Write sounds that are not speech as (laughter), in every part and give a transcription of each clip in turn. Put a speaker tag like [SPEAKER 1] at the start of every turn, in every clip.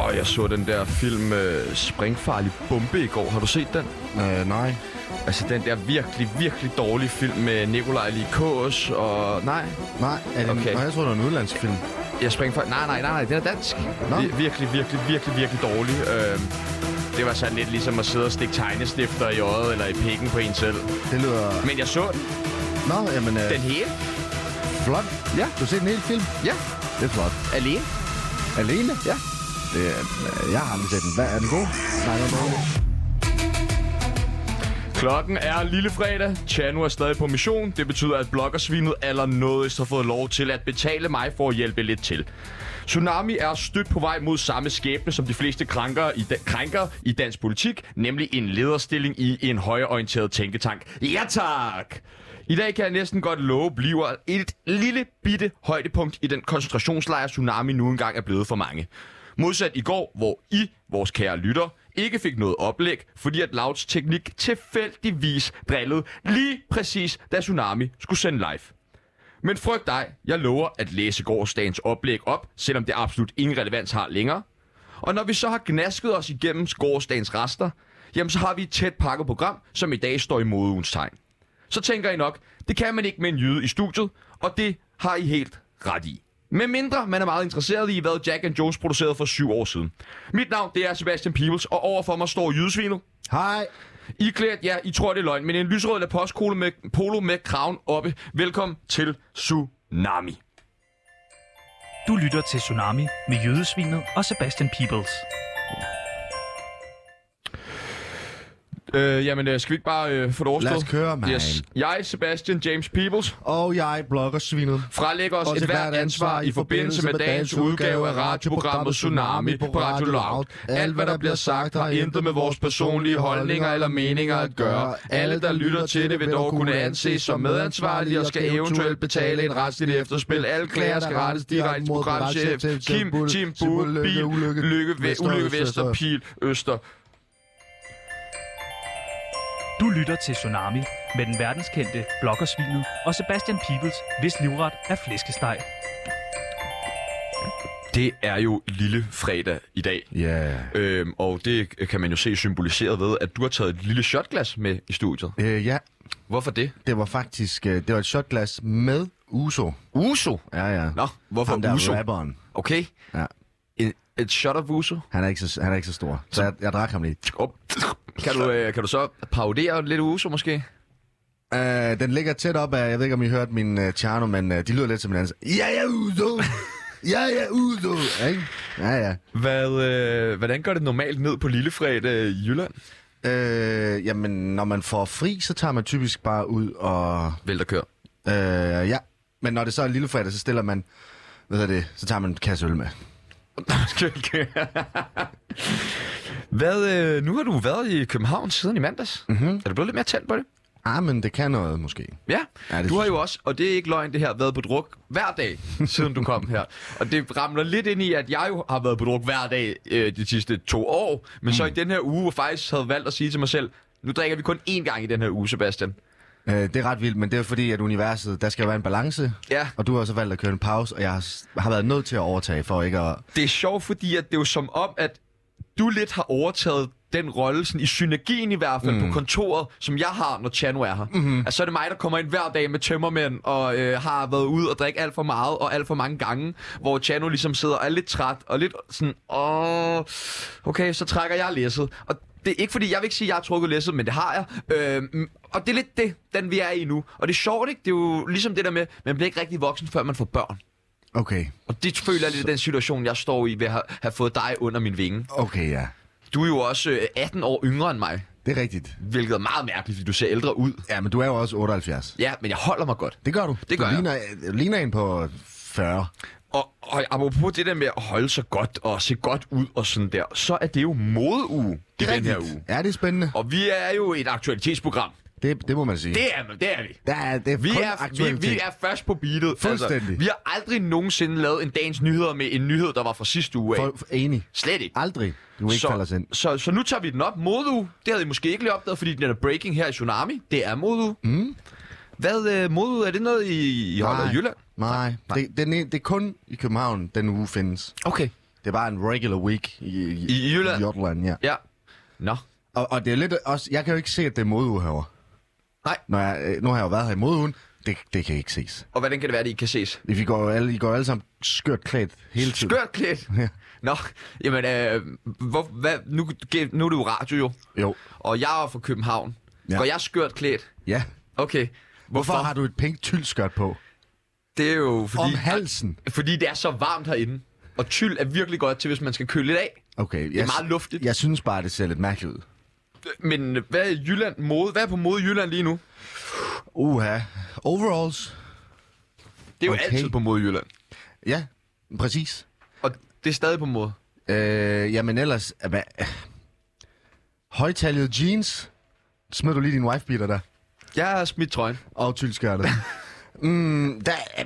[SPEAKER 1] Åh, jeg så den der film øh, Springfarlig Bombe i går. Har du set den?
[SPEAKER 2] Øh, nej.
[SPEAKER 1] Altså den der virkelig, virkelig dårlige film med Nikolaj Likås og... Nej,
[SPEAKER 2] Nej, er det
[SPEAKER 1] Okay.
[SPEAKER 2] okay. nej, jeg tror, det var en udenlandsk film.
[SPEAKER 1] jeg springer for... Nej, nej, nej, nej, den er dansk.
[SPEAKER 2] Nå.
[SPEAKER 1] Vi, virkelig, virkelig, virkelig, virkelig dårlig. Øh, det var sådan lidt ligesom at sidde og stikke tegnestifter i øjet eller i pikken på en selv.
[SPEAKER 2] Det lyder...
[SPEAKER 1] Men jeg så den.
[SPEAKER 2] Nå, jamen, øh,
[SPEAKER 1] Den hele.
[SPEAKER 2] flot.
[SPEAKER 1] Ja.
[SPEAKER 2] Du har set en hel film?
[SPEAKER 1] Ja,
[SPEAKER 2] Det er flot.
[SPEAKER 1] alene.
[SPEAKER 2] Alene?
[SPEAKER 1] Ja.
[SPEAKER 2] Det er, øh, jeg har aldrig set den. Hvad er den god? Nej, den er dårlig.
[SPEAKER 1] Klokken er lille fredag. Chanu er stadig på mission. Det betyder, at bloggersvinet allernådigst har fået lov til at betale mig for at hjælpe lidt til. Tsunami er stødt på vej mod samme skæbne som de fleste krænkere i, da- krænker i dansk politik, nemlig en lederstilling i en højreorienteret tænketank. Ja tak! I dag kan jeg næsten godt love, bliver et lille bitte højdepunkt i den koncentrationslejr, Tsunami nu engang er blevet for mange. Modsat i går, hvor I, vores kære lytter, ikke fik noget oplæg, fordi at Lauts teknik tilfældigvis drillede lige præcis, da Tsunami skulle sende live. Men frygt dig, jeg lover at læse gårsdagens oplæg op, selvom det absolut ingen relevans har længere. Og når vi så har gnasket os igennem gårsdagens rester, jamen så har vi et tæt pakket program, som i dag står i modeugens tegn. Så tænker I nok, det kan man ikke med en jyde i studiet, og det har I helt ret i. Med mindre man er meget interesseret i, hvad Jack and Jones producerede for syv år siden. Mit navn, det er Sebastian Peebles, og overfor mig står jydesvinet.
[SPEAKER 2] Hej.
[SPEAKER 1] I klædt, ja, I tror det er løgn, men en lysrød lapostkjole med polo med kraven oppe. Velkommen til Tsunami.
[SPEAKER 3] Du lytter til Tsunami med Jødesvinet og Sebastian Peebles.
[SPEAKER 1] Øh, jamen, øh, skal vi ikke bare øh, få det overstået?
[SPEAKER 2] Lad os køre, mand.
[SPEAKER 1] Yes. Jeg, Sebastian James Peebles,
[SPEAKER 2] Og jeg blogger svinet.
[SPEAKER 1] frelægger os et hvert ansvar i forbindelse med dagens udgave af radioprogrammet Tsunami på Radio Loud. Alt, hvad der bliver sagt, har intet med vores personlige holdninger eller meninger at gøre. Alle, der lytter til det, vil dog kunne anses som medansvarlige og skal eventuelt betale en retsligt efterspil. Alle klager skal rettes direkte til programchef Kim Tim Bud, Bil, Lykke, Ve- Ulykke Vester, Pil, Øster.
[SPEAKER 3] Du lytter til Tsunami med den verdenskendte bloggersvinet og Sebastian Peebles, hvis livret er flæskesteg.
[SPEAKER 1] Det er jo lille fredag i dag.
[SPEAKER 2] Ja.
[SPEAKER 1] Øhm, og det kan man jo se symboliseret ved, at du har taget et lille shotglas med i studiet.
[SPEAKER 2] Øh, ja,
[SPEAKER 1] Hvorfor det?
[SPEAKER 2] det var faktisk øh, det var et shotglas med Uso.
[SPEAKER 1] Uso.
[SPEAKER 2] Ja, ja.
[SPEAKER 1] Nå, hvorfor
[SPEAKER 2] Ham der
[SPEAKER 1] Uso?
[SPEAKER 2] rapperen.
[SPEAKER 1] Okay.
[SPEAKER 2] Ja.
[SPEAKER 1] En, et shot of Uso.
[SPEAKER 2] Han er ikke så, han er ikke så stor. Så jeg, jeg drak ham lige.
[SPEAKER 1] Oh. Kan, du, øh, kan du så parodere lidt Uso måske?
[SPEAKER 2] Øh, den ligger tæt op af, jeg ved ikke om I hørte min uh, Tjerno, men uh, de lyder lidt som hinanden. Ja, ja, Uso! ja, ja, Uso! Ja, Ikke? Ja, ja.
[SPEAKER 1] Hvad, øh, hvordan går det normalt ned på lillefredag i Jylland?
[SPEAKER 2] Øh, jamen, når man får fri, så tager man typisk bare ud og...
[SPEAKER 1] Vælter kør.
[SPEAKER 2] Øh, ja, men når det så er lillefredag, så stiller man... Hvad hedder det? Så tager man en kasse øl med.
[SPEAKER 1] (laughs) Hvad, øh, nu har du været i København siden i mandags. Mm-hmm. Er du blevet lidt mere tændt på det?
[SPEAKER 2] Ah, men det kan noget, måske.
[SPEAKER 1] Ja,
[SPEAKER 2] Ja,
[SPEAKER 1] ja
[SPEAKER 2] det
[SPEAKER 1] du
[SPEAKER 2] synes
[SPEAKER 1] har
[SPEAKER 2] jeg.
[SPEAKER 1] jo også, og det er ikke løgn det her, været på druk hver dag, siden du kom her. Og det ramler lidt ind i, at jeg jo har været på druk hver dag øh, de sidste to år. Men mm. så i den her uge, hvor jeg faktisk havde valgt at sige til mig selv, nu drikker vi kun én gang i den her uge, Sebastian.
[SPEAKER 2] Øh, det er ret vildt, men det er fordi, at universet, der skal jo være en balance.
[SPEAKER 1] Ja.
[SPEAKER 2] Og du har så valgt at køre en pause, og jeg har, s- har været nødt til at overtage for ikke at...
[SPEAKER 1] Det er sjovt, fordi at det er jo som om, at du lidt har overtaget den rolle, sådan i synergien i hvert fald, mm. på kontoret, som jeg har, når Chano er her. Mm-hmm. Altså, så er det mig, der kommer ind hver dag med tømmermænd, og øh, har været ude og drikke alt for meget, og alt for mange gange, hvor Chano ligesom sidder og er lidt træt, og lidt sådan, åh, okay, så trækker jeg læsset. Og det er ikke fordi, jeg vil ikke sige, at jeg har trukket læsset, men det har jeg. Øh, og det er lidt det, den vi er i nu. Og det er sjovt, ikke? Det er jo ligesom det der med, man bliver ikke rigtig voksen, før man får børn.
[SPEAKER 2] Okay,
[SPEAKER 1] Og det føler jeg lidt er den situation, jeg står i ved at have, have fået dig under min vinge.
[SPEAKER 2] okay, ja.
[SPEAKER 1] Du er jo også øh, 18 år yngre end mig,
[SPEAKER 2] Det er rigtigt.
[SPEAKER 1] hvilket er meget mærkeligt, fordi du ser ældre ud.
[SPEAKER 2] Ja, men du er jo også 78.
[SPEAKER 1] Ja, men jeg holder mig godt.
[SPEAKER 2] Det gør du.
[SPEAKER 1] Det gør
[SPEAKER 2] du
[SPEAKER 1] jeg.
[SPEAKER 2] ligner, jeg. ligner en på 40.
[SPEAKER 1] Og, og apropos det der med at holde sig godt og se godt ud og sådan der, så er det jo modeuge i den her uge.
[SPEAKER 2] Ja, det er spændende.
[SPEAKER 1] Og vi er jo et aktualitetsprogram.
[SPEAKER 2] Det, det må man sige.
[SPEAKER 1] Det er, det er vi.
[SPEAKER 2] Der er, det er
[SPEAKER 1] Vi
[SPEAKER 2] kun
[SPEAKER 1] er, vi,
[SPEAKER 2] aktualitet.
[SPEAKER 1] vi er først på beatet. Altså,
[SPEAKER 2] Fuldstændig.
[SPEAKER 1] vi har aldrig nogensinde lavet en dagens nyheder med en nyhed, der var fra sidste uge af.
[SPEAKER 2] For, for, enig.
[SPEAKER 1] Slet ikke.
[SPEAKER 2] Aldrig. Du ikke falder os ind.
[SPEAKER 1] Så, så nu tager vi den op. Modu, det havde I måske ikke lige opdaget, fordi den er breaking her i Tsunami. Det er Modu. Mm. Hvad, uh, Modu, er det noget, I, I holder i Jylland?
[SPEAKER 2] Nej, Nej. Det, den er, det er kun i København, den uge findes.
[SPEAKER 1] Okay.
[SPEAKER 2] Det er bare en regular week i, i,
[SPEAKER 1] I Jylland?
[SPEAKER 2] I Jylland, ja.
[SPEAKER 1] Ja. Nå.
[SPEAKER 2] Og, og det er lidt også... Jeg kan jo ikke se, at det er modeuge herovre.
[SPEAKER 1] Nej.
[SPEAKER 2] Når jeg, øh, nu har jeg jo været her i modeugen. Det, det kan ikke ses.
[SPEAKER 1] Og hvordan kan det være, at I ikke kan ses?
[SPEAKER 2] Vi går jo alle, I går alle sammen skørt klædt hele tiden.
[SPEAKER 1] Skørt klædt.
[SPEAKER 2] Ja.
[SPEAKER 1] Nå, jamen, øh, hvor, hvad, nu, ge- nu er det jo radio jo,
[SPEAKER 2] Jo.
[SPEAKER 1] og jeg er fra København.
[SPEAKER 2] Ja.
[SPEAKER 1] Ja. Og jeg er skørt klædt.
[SPEAKER 2] Ja.
[SPEAKER 1] Okay.
[SPEAKER 2] Hvorfor har du et pink tyldskørt på?
[SPEAKER 1] Det er jo fordi...
[SPEAKER 2] Om halsen.
[SPEAKER 1] Fordi det er så varmt herinde. Og tyld er virkelig godt til, hvis man skal køle lidt af.
[SPEAKER 2] Okay. Det
[SPEAKER 1] er meget luftigt.
[SPEAKER 2] Jeg synes bare, det ser lidt mærkeligt ud.
[SPEAKER 1] Men øh, hvad er Jylland mode? Hvad er på mode i Jylland lige nu?
[SPEAKER 2] Uha. Overalls.
[SPEAKER 1] Det er jo
[SPEAKER 2] Okay.
[SPEAKER 1] okay. altid på mode i Jylland.
[SPEAKER 2] Ja, præcis.
[SPEAKER 1] Og det er stadig på mode.
[SPEAKER 2] Øh, jamen ellers... øh, Hvad? Højtaljet jeans. Smed du lige din wifebeater der.
[SPEAKER 1] Jeg har smidt trøjen. (laughs)
[SPEAKER 2] Og tyldskørtet. mm, der... øh,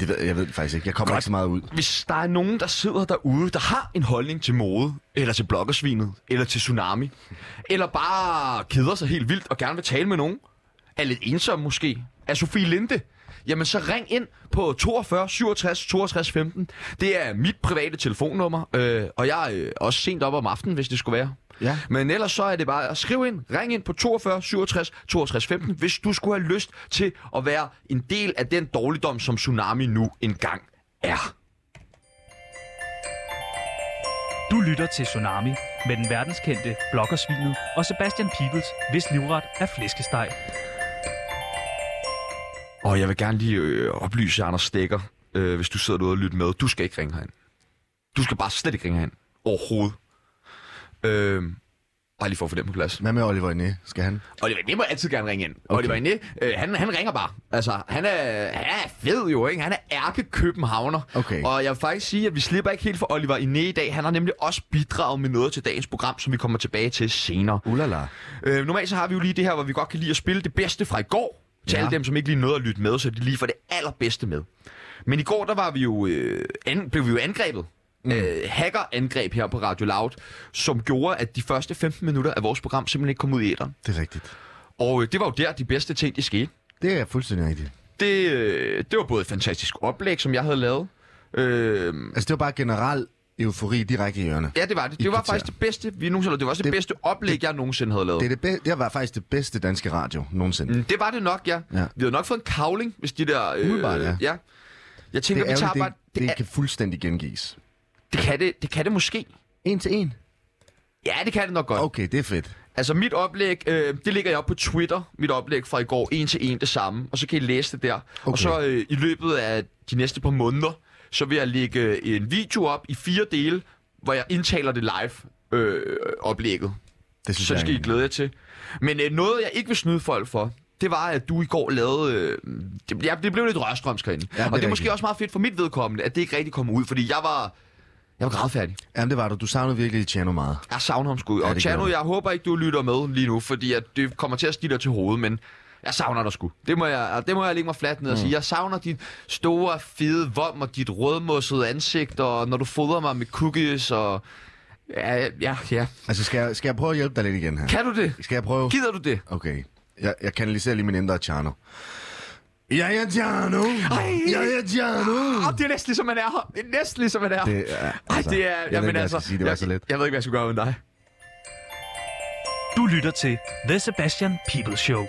[SPEAKER 2] Det ved, jeg ved det faktisk ikke. Jeg kommer Godt. ikke så meget ud.
[SPEAKER 1] Hvis der er nogen, der sidder derude, der har en holdning til mode, eller til blokkersvinet, eller til tsunami, eller bare keder sig helt vildt og gerne vil tale med nogen, er lidt ensom måske, er Sofie Linde, jamen så ring ind på 42 67 62 15. Det er mit private telefonnummer, øh, og jeg er øh, også sent op om aftenen, hvis det skulle være.
[SPEAKER 2] Ja.
[SPEAKER 1] Men ellers så er det bare at skrive ind, ring ind på 42 67 62 15, hvis du skulle have lyst til at være en del af den dårligdom, som tsunami nu engang er.
[SPEAKER 3] Du lytter til Tsunami med den verdenskendte bloggersvinet og Sebastian Pibels, hvis livret er flæskesteg.
[SPEAKER 1] Og jeg vil gerne lige øh, oplyse Anders Stikker, øh, hvis du sidder derude og lytter med. Du skal ikke ringe herind. Du skal bare slet ikke ringe herind. Overhovedet. Øh, bare lige for at få den på plads.
[SPEAKER 2] Hvad med Oliver Ine? Skal han?
[SPEAKER 1] Oliver Inde må altid gerne ringe ind.
[SPEAKER 2] Okay.
[SPEAKER 1] Okay. Oliver Inde, øh, han, han ringer bare. Altså, han er, han er fed jo, ikke? Han er ærke-københavner.
[SPEAKER 2] Okay.
[SPEAKER 1] Og jeg vil faktisk sige, at vi slipper ikke helt for Oliver Inde i dag. Han har nemlig også bidraget med noget til dagens program, som vi kommer tilbage til senere.
[SPEAKER 2] Ulala.
[SPEAKER 1] Øh, normalt så har vi jo lige det her, hvor vi godt kan lide at spille det bedste fra i går. Til
[SPEAKER 2] Ja.
[SPEAKER 1] ja. alle dem, som ikke lige nåede at lytte med, så de lige får det allerbedste med. Men i går, der var vi jo, øh, an, blev vi jo angrebet. Mm. Øh, hackerangreb her på Radio Loud, som gjorde, at de første 15 minutter af vores program simpelthen ikke kom ud i æderen.
[SPEAKER 2] Det er rigtigt.
[SPEAKER 1] Og øh, det var jo der, de bedste ting, de skete.
[SPEAKER 2] Det er fuldstændig rigtigt.
[SPEAKER 1] Det, øh, det var både et fantastisk oplæg, som jeg havde lavet. Øh,
[SPEAKER 2] Altså, det var bare generel eufori direkte i ørerne.
[SPEAKER 1] ja, det var det.
[SPEAKER 2] I
[SPEAKER 1] Det var
[SPEAKER 2] kvarter.
[SPEAKER 1] faktisk det bedste, vi nogensinde, det var også det,
[SPEAKER 2] Det-
[SPEAKER 1] det bedste oplæg, jeg nogensinde havde lavet.
[SPEAKER 2] Det, er det, be- det var faktisk det bedste danske radio nogensinde.
[SPEAKER 1] Mm, Det var det nok, ja.
[SPEAKER 2] Ja.
[SPEAKER 1] ja. Vi havde nok fået en kavling, hvis de der... Øh,
[SPEAKER 2] Umiddelbart, ja.
[SPEAKER 1] ja. Jeg
[SPEAKER 2] Det
[SPEAKER 1] tænker,
[SPEAKER 2] er
[SPEAKER 1] vi tager
[SPEAKER 2] ærgerligt,
[SPEAKER 1] bare...
[SPEAKER 2] det,
[SPEAKER 1] Det,
[SPEAKER 2] det
[SPEAKER 1] er,
[SPEAKER 2] kan fuldstændig gengives.
[SPEAKER 1] det, kan det, det kan det måske.
[SPEAKER 2] En til en?
[SPEAKER 1] Ja, det kan det nok godt. Okay.
[SPEAKER 2] Okay, det er fedt.
[SPEAKER 1] Altså, mit oplæg, øh, det ligger jeg op på Twitter. Mit oplæg fra i går, en til en det samme. Og så kan I læse det der. Okay.
[SPEAKER 2] Okay.
[SPEAKER 1] Og så øh, i løbet af de næste par måneder, så vil jeg lægge øh, en video op i fire dele, hvor jeg indtaler det live øh, oplægget.
[SPEAKER 2] Det synes
[SPEAKER 1] Så
[SPEAKER 2] jeg
[SPEAKER 1] det skal I
[SPEAKER 2] egentlig.
[SPEAKER 1] glæde jer til. Men øh, noget, jeg ikke vil snyde folk for, det var, at du i går lavede... Øh, det, ja, det blev lidt rørstrømsk herinde.
[SPEAKER 2] er
[SPEAKER 1] Ja, og det er
[SPEAKER 2] rigtigt.
[SPEAKER 1] måske også meget fedt for mit vedkommende, at det ikke rigtig kom ud, fordi jeg var... Jeg var grædfærdig.
[SPEAKER 2] Jamen, det var du. Du savnede virkelig Tjerno meget.
[SPEAKER 1] Jeg savner ham sgu.
[SPEAKER 2] Ja,
[SPEAKER 1] Og
[SPEAKER 2] det
[SPEAKER 1] Tjerno,
[SPEAKER 2] gjorde du.
[SPEAKER 1] jeg håber ikke, du lytter med lige nu, fordi at det kommer til at stige dig til hovedet, men jeg savner dig sgu. Det må jeg, det må jeg lægge mig fladt
[SPEAKER 2] Mm.
[SPEAKER 1] ned og sige. Jeg savner dit store, fede vom og dit rødmossede ansigt, og når du fodrer mig med cookies og... Ja, ja, ja.
[SPEAKER 2] Altså, skal jeg, skal jeg prøve at hjælpe dig lidt igen her?
[SPEAKER 1] Kan du det?
[SPEAKER 2] Skal jeg prøve?
[SPEAKER 1] Gider du det?
[SPEAKER 2] Okay. Jeg, jeg kanaliserer lige min indre Tjerno. Jeg er Tjerno! Jeg er Tjerno!
[SPEAKER 1] Oh, det er næsten ligesom, man er her. Det er næsten ligesom, man er her.
[SPEAKER 2] Det er-
[SPEAKER 1] Ej,
[SPEAKER 2] altså,
[SPEAKER 1] det er...
[SPEAKER 2] jeg ved
[SPEAKER 1] jamen,
[SPEAKER 2] ikke, hvad jeg
[SPEAKER 1] altså,
[SPEAKER 2] skal sige, det var så let.
[SPEAKER 1] Jeg ved ikke, hvad jeg skulle gøre med dig.
[SPEAKER 3] Du lytter til The Sebastian People Show.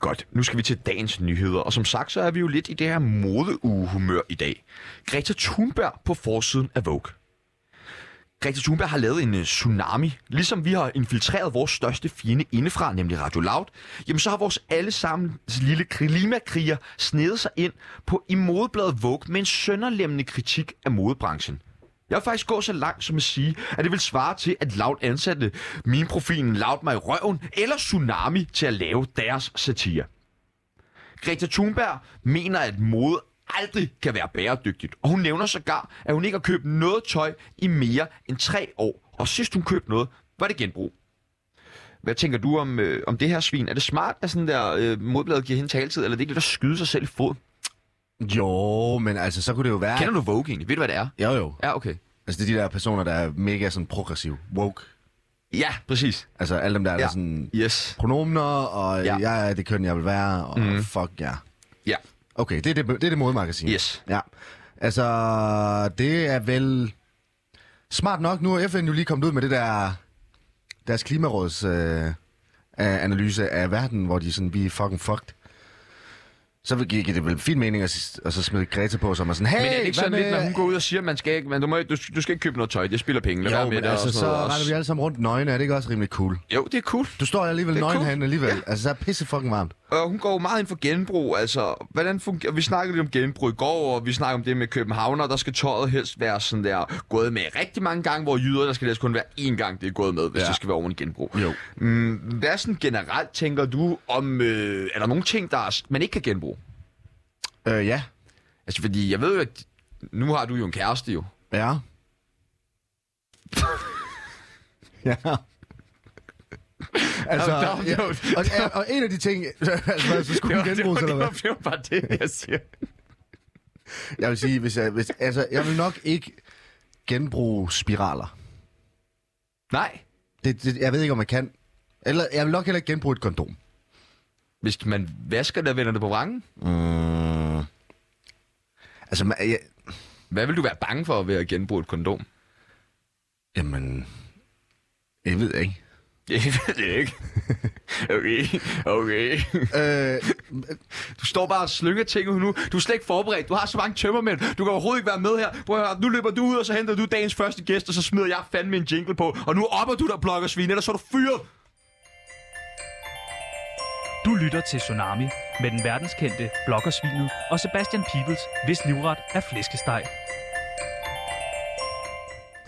[SPEAKER 1] Godt, nu skal vi til dagens nyheder, og som sagt, så er vi jo lidt i det her modeuge-humør i dag. Greta Thunberg på forsiden af Vogue. Greta Thunberg har lavet en øh, tsunami. Ligesom vi har infiltreret vores største fjende indefra, nemlig Radio Loud, jamen så har vores allesammens lille klimakriger snedet sig ind på i modebladet Vogue med en sønderlemmende kritik af modebranchen. Jeg vil faktisk gå så langt som at sige, at det vil svare til, at Loud ansatte min profilen Loud mig i røven eller Tsunami til at lave deres satire. Greta Thunberg mener, at mode aldrig kan være bæredygtigt, og hun nævner sågar, at hun ikke har købt noget tøj i mere end tre år, og sidst hun købte noget, var det genbrug. Hvad tænker du om, øh, om det her svin? Er det smart, at sådan der øh, modbladet giver hende taletid, eller er det ikke lidt at skyde sig selv i foden?
[SPEAKER 2] Jo, men altså, så kunne det jo være...
[SPEAKER 1] Kender du Vogue egentlig? Ved du, hvad det er?
[SPEAKER 2] Jo, jo.
[SPEAKER 1] Ja, okay.
[SPEAKER 2] Altså, det er de der personer, der er mega sådan progressiv. Woke.
[SPEAKER 1] Ja, præcis.
[SPEAKER 2] Altså, alle dem der, ja. der
[SPEAKER 1] Ja.
[SPEAKER 2] er sådan...
[SPEAKER 1] Yes.
[SPEAKER 2] Pronomener, og ja.
[SPEAKER 1] Ja. Mhm.
[SPEAKER 2] jeg er det køn, jeg vil være, og mm. fuck ja.
[SPEAKER 1] Ja.
[SPEAKER 2] Okay, det er det, det, er det modemagasin.
[SPEAKER 1] Yes.
[SPEAKER 2] Ja. Altså, det er vel smart nok. Nu er FN jo lige kommet ud med det der, deres klimaråds øh, øh, analyse af verden, hvor de sådan, vi er fucking fucked. Så vil- giver det vel fin mening at, s- at så smide Greta på, som er sådan, hey,
[SPEAKER 1] Men er det ikke
[SPEAKER 2] hvad
[SPEAKER 1] sådan lidt,
[SPEAKER 2] med-
[SPEAKER 1] når hun går ud og siger, at man skal ikke, man, du, må, ikke- du, du skal ikke købe noget tøj, det spilder penge, lad være
[SPEAKER 2] Jo,
[SPEAKER 1] med
[SPEAKER 2] men
[SPEAKER 1] det
[SPEAKER 2] altså,
[SPEAKER 1] og sådan
[SPEAKER 2] så
[SPEAKER 1] noget
[SPEAKER 2] render vi
[SPEAKER 1] også.
[SPEAKER 2] alle sammen rundt nøgne. Er det ikke også rimelig cool?
[SPEAKER 1] Jo, det er cool.
[SPEAKER 2] Du står alligevel
[SPEAKER 1] Det er
[SPEAKER 2] nøgenhand
[SPEAKER 1] cool.
[SPEAKER 2] alligevel. Altså, så er pisse fucking varmt.
[SPEAKER 1] Og hun går jo meget ind for genbrug, altså, hvordan fungerer... Vi snakkede lidt om genbrug i går, og vi snakkede om det med københavner, der skal tøjet helst være sådan der gået med rigtig mange gange, hvor jyder, der skal helst kun være én gang, det er gået med, hvis ja.
[SPEAKER 2] Ja.
[SPEAKER 1] det skal være oven i genbrug.
[SPEAKER 2] Jo.
[SPEAKER 1] Mm, hvad sådan generelt tænker du om, øh, er der nogle ting, der er, man ikke kan genbruge?
[SPEAKER 2] Øh, ja.
[SPEAKER 1] Altså, fordi jeg ved jo, at nu har du jo en kæreste jo.
[SPEAKER 2] Ja.
[SPEAKER 1] (laughs)
[SPEAKER 2] ja. Altså,
[SPEAKER 1] Jamen, der-
[SPEAKER 2] ja,
[SPEAKER 1] jo.
[SPEAKER 2] og, og- og, en af de ting, (laughs) altså, hvad, så skulle den genbruges, eller hvad?
[SPEAKER 1] det var bare det, jeg siger.
[SPEAKER 2] Jeg vil sige, hvis jeg, hvis, altså, jeg vil nok ikke genbruge spiraler.
[SPEAKER 1] Nej,
[SPEAKER 2] Det, det, jeg ved ikke, om man kan. Eller, jeg vil nok heller ikke genbruge et kondom.
[SPEAKER 1] hvis man vasker det og vender det på vrangen,
[SPEAKER 2] Mm. Altså, man, jeg,
[SPEAKER 1] hvad vil du være bange for ved at genbruge et kondom?
[SPEAKER 2] jamen, jeg ved ikke.
[SPEAKER 1] Jeg ved det ikke. Okay, okay.
[SPEAKER 2] Øh,
[SPEAKER 1] Du står bare og slynger ting ud nu. Du er slet ikke forberedt. Du har så mange tømmermænd. Du kan overhovedet ikke være med her. Prøv at høre, nu løber du ud, og så henter du dagens første gæst, og så smider jeg fandme en jingle på. Og nu opper du dig, bloggersvin, ellers så er du fyret.
[SPEAKER 3] Du lytter til Tsunami med den verdenskendte bloggersvinet og Sebastian Pibels, hvis livret er flæskesteg.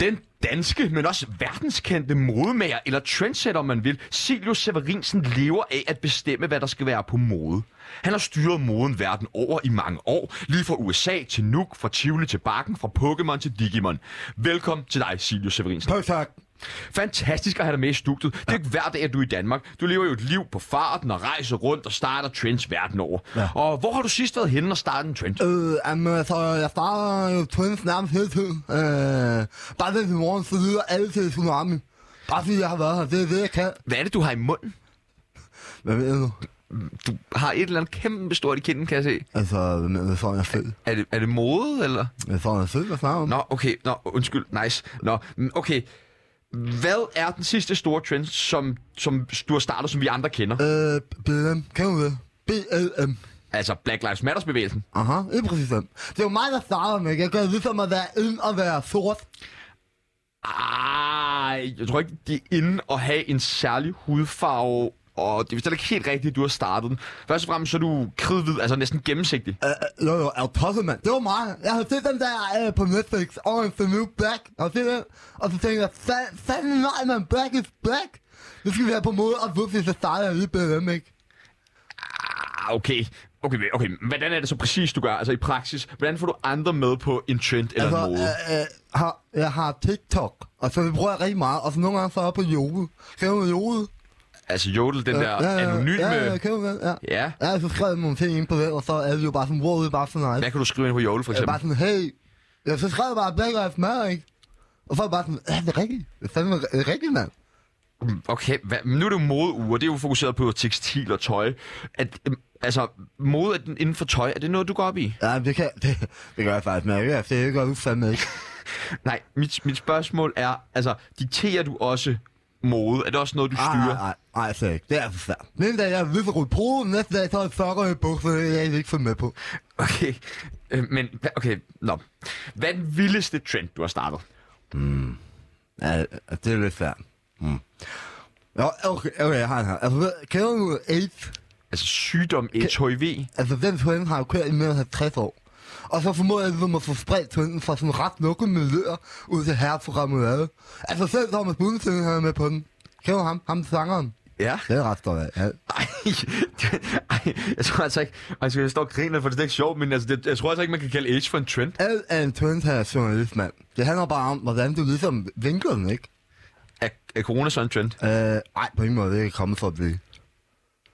[SPEAKER 1] Den danske, men også verdenskendte modemager, eller trendsetter, om man vil, Silvio Severinsen lever af at bestemme, hvad der skal være på mode. Han har styret moden verden over i mange år, lige fra USA til Nuuk, fra Tivoli til Bakken, fra Pokémon til Digimon. Velkommen til dig, Silvio Severinsen.
[SPEAKER 2] tak, tak.
[SPEAKER 1] Fantastisk at have dig med i studiet. Det er ikke hver dag, at du er i Danmark. Du lever jo et liv på farten og rejser rundt og starter trends verden over. Ja. Og hvor har du sidst været henne og startet en trend?
[SPEAKER 2] Øh, jamen, så jeg starter øh, jo Twins nærmest hele tiden. Øh, bare den i morgen, så lyder alle til Tsunami. Bare fordi jeg har været her, det er det, jeg kan.
[SPEAKER 1] Hvad er det, du har i munden?
[SPEAKER 2] Hvad ved du?
[SPEAKER 1] Du har et eller andet kæmpe stort i kinden, kan jeg se.
[SPEAKER 2] Altså, hvad mener du, sådan er fed?
[SPEAKER 1] Er det, er det mode, eller?
[SPEAKER 2] Hvad sådan er fed, hvad snakker om?
[SPEAKER 1] Nå, okay. Nå, undskyld. Nice. Nå, mm, okay. Hvad er den sidste store trend, som, som du har startet, som vi andre kender?
[SPEAKER 2] Øh, BLM, kan du det? BLM.
[SPEAKER 1] Altså Black Lives Matters-bevægelsen.
[SPEAKER 2] Aha, lige præcis den. Det er jo mig, der starter med, ikke? Jeg gør ligesom at være ind og være sort.
[SPEAKER 1] Ah, jeg tror ikke, de er inde og have en særlig hudfarve, og det er vist heller ikke helt rigtigt, at du har startet den. Først og fremmest så er du kridhvid, altså næsten gennemsigtig.
[SPEAKER 2] Øh, øh, jo, jo, er du tosset, mand? Det var mig. Jeg havde set den der øh, på Netflix, Orange the New Black. Jeg havde set den, og så tænkte jeg, "Fa- fanden nej, man, black is black. Nu skal vi være på måde, og pludselig så starter jeg lige BLM, ikke?
[SPEAKER 1] Ah, okay. Okay, men- okay, men hvordan er det så præcis, du gør, altså i praksis? Hvordan får du andre med på en trend eller
[SPEAKER 2] Altså,
[SPEAKER 1] altså, mode?
[SPEAKER 2] øh, øh, har, jeg har TikTok, og så det bruger jeg rigtig meget, og så nogle gange så er jeg på Jode. Kender du Jode?
[SPEAKER 1] altså jodel, den der anonyme...
[SPEAKER 2] øh, Ja, ja, ja, kender du den? Ja.
[SPEAKER 1] Ja.
[SPEAKER 2] Ja, så skrev jeg nogle ting ind på den, og så er det jo bare sådan, wow, det er bare så nice.
[SPEAKER 1] Hvad kan du skrive ind på jodel, for
[SPEAKER 2] Jeg er
[SPEAKER 1] eksempel?
[SPEAKER 2] Øh, bare sådan, hey, jeg så skrev jeg bare Black Lives Matter, ikke? Og så er jeg bare sådan, ja, det er rigtigt. Det er fandme øh, rigtigt, mand.
[SPEAKER 1] Okay, hvad? men nu er det jo modeuger, det er jo fokuseret på tekstil og tøj. At, øhm, altså, mode er den- inden for tøj, er det noget, du går op i?
[SPEAKER 2] Ja, men det kan det, det gør jeg faktisk, men jeg kan se, det gør du fandme ikke.
[SPEAKER 1] Nej, mit, mit spørgsmål er, altså, dikterer du også mode? Er det også noget, du
[SPEAKER 2] Ej,
[SPEAKER 1] styrer?
[SPEAKER 2] nej, nej, nej, slet ikke. Det er for svært. Den ene dag, jeg er ved at rulle på, den næste dag, så er jeg sokker i bukser, det er jeg ikke for med på.
[SPEAKER 1] Okay, øh, men, hva- okay, nå. Hvad er den vildeste trend, du har startet?
[SPEAKER 2] Ja, det er lidt svært. Mm. Jo, okay, okay, jeg har den her. Altså, ved- kender du AIDS?
[SPEAKER 1] Altså, sygdom, HIV?
[SPEAKER 2] Altså, den trend har jo kørt i mere end 50 år. Og så formåede jeg ligesom at få spredt trenden fra sådan ret lukkede miljøer ud til herreprogrammet alle. Altså, selv Thomas Budensøn havde med på den. Kender du ham? Ham sangeren?
[SPEAKER 1] Ja.
[SPEAKER 2] Det er ret stort af. Ja.
[SPEAKER 1] Ej, det- (laughs) ej, jeg tror altså ikke... Altså, jeg står og griner, for det er ikke sjovt, men altså, det, jeg tror altså ikke, man kan kalde age for en trend.
[SPEAKER 2] Alt er en trend her journalist, mand. Det handler bare om, hvordan du ligesom vinkler den, ikke?
[SPEAKER 1] Er, er corona så en trend?
[SPEAKER 2] Øh, ej, på ingen måde, det er kommet for at blive.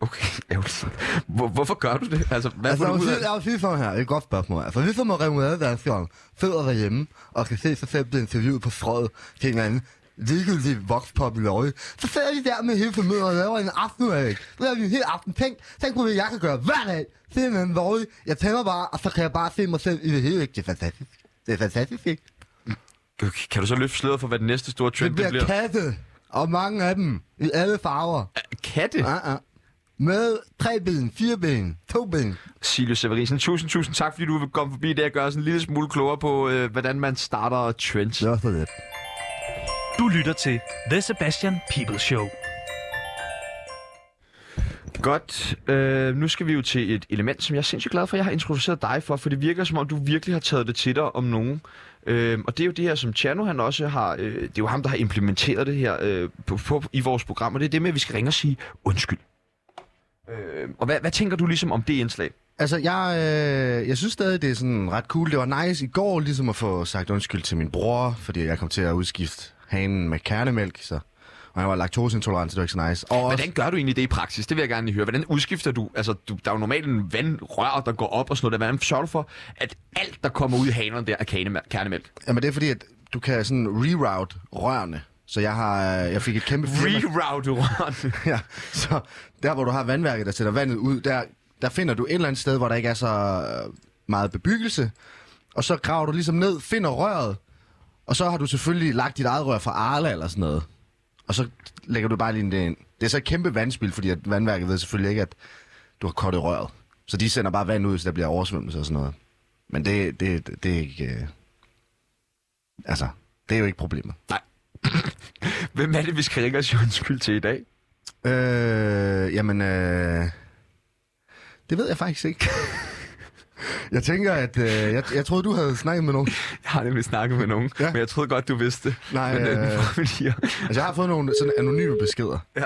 [SPEAKER 1] Okay, (laughs) ærgerligt. Hvor, hvorfor gør du det? Altså, hvad
[SPEAKER 2] Altså,
[SPEAKER 1] får
[SPEAKER 2] jeg
[SPEAKER 1] du
[SPEAKER 2] vil
[SPEAKER 1] ud af
[SPEAKER 2] sige,
[SPEAKER 1] det?
[SPEAKER 2] jeg vil sige sådan her, det er et godt spørgsmål. Altså, ligesom at remunerede danskeren sidder derhjemme og kan se sig selv blive interviewet på strøget til en anden
[SPEAKER 4] ligget i vokspoppen lovlig. Så sidder de der med hele familien og laver en aften af det. Så laver vi en hel aften. Tænk, tænk på, hvad jeg kan gøre hver dag. Simpelthen lovlig. Jeg tænder bare, og så kan jeg bare se mig selv i det hele. ikke? Det er fantastisk. Det er fantastisk, ikke?
[SPEAKER 1] Okay, Kan du så løfte sløret for, hvad den næste store trend
[SPEAKER 4] Det
[SPEAKER 1] det
[SPEAKER 4] bliver
[SPEAKER 1] bliver?
[SPEAKER 4] katte, og mange af dem i alle farver.
[SPEAKER 1] Katte?
[SPEAKER 4] Ja, ja. Med tre ben, fire ben, to ben.
[SPEAKER 1] Silje Severisen, tusind, tusind tak, fordi du vil komme forbi det og gøre os en lille smule klogere på, øh, hvordan man starter trends.
[SPEAKER 4] Det var så lidt.
[SPEAKER 3] Du lytter til The Sebastian People Show.
[SPEAKER 1] Godt. Øh, nu skal vi jo til et element, som jeg er sindssygt glad for, jeg har introduceret dig for, for det virker som om, du virkelig har taget det til dig om nogen. Øh, og det er jo det her, som Tjerno han også har, øh, det er jo ham, der har implementeret det her øh, på, på, i vores program, og det er det med, at vi skal ringe og sige undskyld. Øh, og hvad, hvad tænker du ligesom om det indslag?
[SPEAKER 2] Altså, jeg, øh, jeg synes stadig, det er sådan ret cool. Det var nice i går ligesom at få sagt undskyld til min bror, fordi jeg kom til at udskifte hanen med kernemælk, så... Og jeg var laktoseintolerant, så det var ikke så nice. Og også,
[SPEAKER 1] Hvordan gør du egentlig det i praksis? Det vil jeg gerne lige høre. Hvordan udskifter du? Altså, du, der er jo normalt en vandrør, der går op og sådan noget. Hvordan sørger du for, at alt, der kommer ud i hanerne der, er kanemæl- kernemælk?
[SPEAKER 2] jamen, det er fordi, at du kan sådan reroute rørene. Så jeg, har, øh, jeg fik et kæmpe firma-
[SPEAKER 1] Reroute rørene.
[SPEAKER 2] (laughs) ja, så der, hvor du har vandværket, der sætter vandet ud, der, der finder du et eller andet sted, hvor der ikke er så øh, meget bebyggelse. Og så graver du ligesom ned, finder røret, og så har du selvfølgelig lagt dit eget rør fra Arla eller sådan noget. Og så lægger du bare lige det ind. Det er så et kæmpe vandspil, fordi at vandværket ved selvfølgelig ikke, at du har kottet røret. Så de sender bare vand ud, så der bliver oversvømmelse og sådan noget. Men det, det, det, det er ikke... Øh... Altså, det er jo ikke problemet.
[SPEAKER 1] Nej. (laughs) Hvem er det, vi skal ringe og sige undskyld til i dag?
[SPEAKER 2] Øh, jamen, øh, det ved jeg faktisk ikke. (laughs) jeg tænker, at øh, jeg, jeg troede, du havde snakket med nogen.
[SPEAKER 1] Jeg har nemlig snakket med nogen, ja.
[SPEAKER 2] Ja.
[SPEAKER 1] men jeg troede godt, du vidste det.
[SPEAKER 2] Nej,
[SPEAKER 1] men, øh...
[SPEAKER 2] øh. (laughs)
[SPEAKER 1] nu prøver vi lige at-
[SPEAKER 2] Altså, jeg har fået nogle sådan anonyme beskeder.
[SPEAKER 1] ja.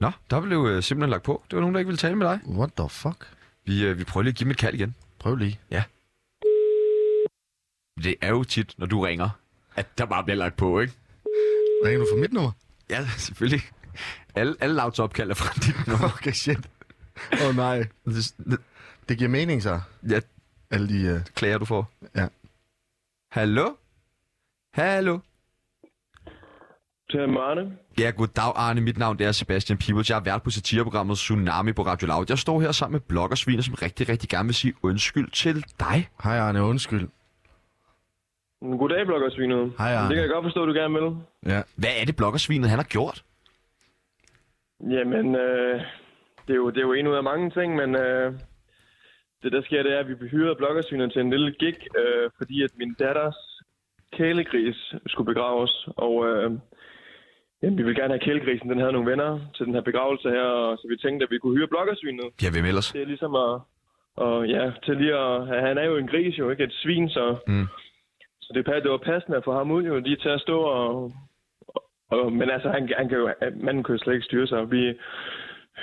[SPEAKER 1] Nå, der blev øh, simpelthen lagt på. Det var nogen, der ikke ville tale med dig.
[SPEAKER 2] What the fuck?
[SPEAKER 1] Vi, øh, vi prøver lige at give dem et kald igen.
[SPEAKER 2] Prøv lige.
[SPEAKER 1] Det er jo tit, når du ringer, at der bare bliver lagt på, ikke?
[SPEAKER 2] Ringer du fra mit nummer?
[SPEAKER 1] Ja, selvfølgelig. Alle, alle lavts opkald er fra dit (laughs) nummer.
[SPEAKER 2] (laughs) Okay, shit. Åh oh, nej. Det giver mening, så.
[SPEAKER 1] Ja,
[SPEAKER 2] Alle de... Øh...
[SPEAKER 1] klager du får.
[SPEAKER 2] Ja.
[SPEAKER 1] Hallo? Hallo?
[SPEAKER 5] Til Arne.
[SPEAKER 1] Ja, goddag Arne. Mit navn det er Sebastian Peebles. Jeg er vært på satireprogrammet Tsunami på Radio Loud. Jeg står her sammen med bloggersviner, som rigtig, rigtig gerne vil sige undskyld til dig.
[SPEAKER 2] Hej, Arne. Undskyld.
[SPEAKER 5] Goddag, bloggersvinet.
[SPEAKER 2] Hej, Arne.
[SPEAKER 5] Det kan jeg godt forstå, du gerne vil.
[SPEAKER 2] Ja.
[SPEAKER 1] Hvad er det, bloggersvinet han har gjort?
[SPEAKER 5] Jamen, øh, det, er jo, det er jo en ud af mange ting, men øh, det der sker, det er, at vi behyrede bloggersvinet til en lille gig, øh, fordi at min datters kælegris skulle begraves, og øh, jamen, vi ville gerne have kælegrisen, den havde nogle venner til den her begravelse her, og så vi tænkte, at vi kunne hyre bloggersvinet.
[SPEAKER 1] Ja, hvem ellers?
[SPEAKER 5] Det er ligesom at... Og ja, til lige at... Han er jo en gris jo, ikke? Et svin, så...
[SPEAKER 1] Mm.
[SPEAKER 5] Så det, pa- det var passende at få ham ud jo, lige til at stå og... og men altså, han, han kan jo, manden kan jo slet ikke styre sig. Vi,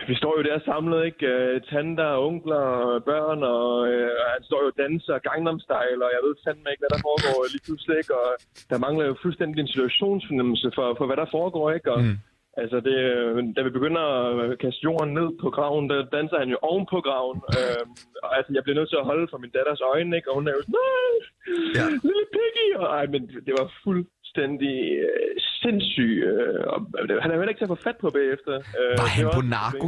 [SPEAKER 5] vi står jo der samlet, ikke? Øh, Tanter, onkler, og børn, og, øh, og han står jo og danser Gangnam Style, og jeg ved fandme ikke, hvad der foregår lige pludselig, ikke? Og der mangler jo fuldstændig en situationsfornemmelse for, for hvad der foregår, ikke? Og, mm. Altså, det, øh, da vi begynder at kaste jorden ned på graven, der danser han jo oven på graven. Øh, og altså, jeg bliver nødt til at holde for min datters øjne, ikke? Og hun er jo sådan, nej,
[SPEAKER 1] Ja.
[SPEAKER 5] ja. lille piggy! Og, ej, men det var fuldstændig øh, sindssygt. Øh, og det- han er jo heller ikke til at få fat på bagefter. Øh,
[SPEAKER 1] Var
[SPEAKER 5] det
[SPEAKER 1] han
[SPEAKER 5] var
[SPEAKER 1] på
[SPEAKER 5] også-
[SPEAKER 1] narko?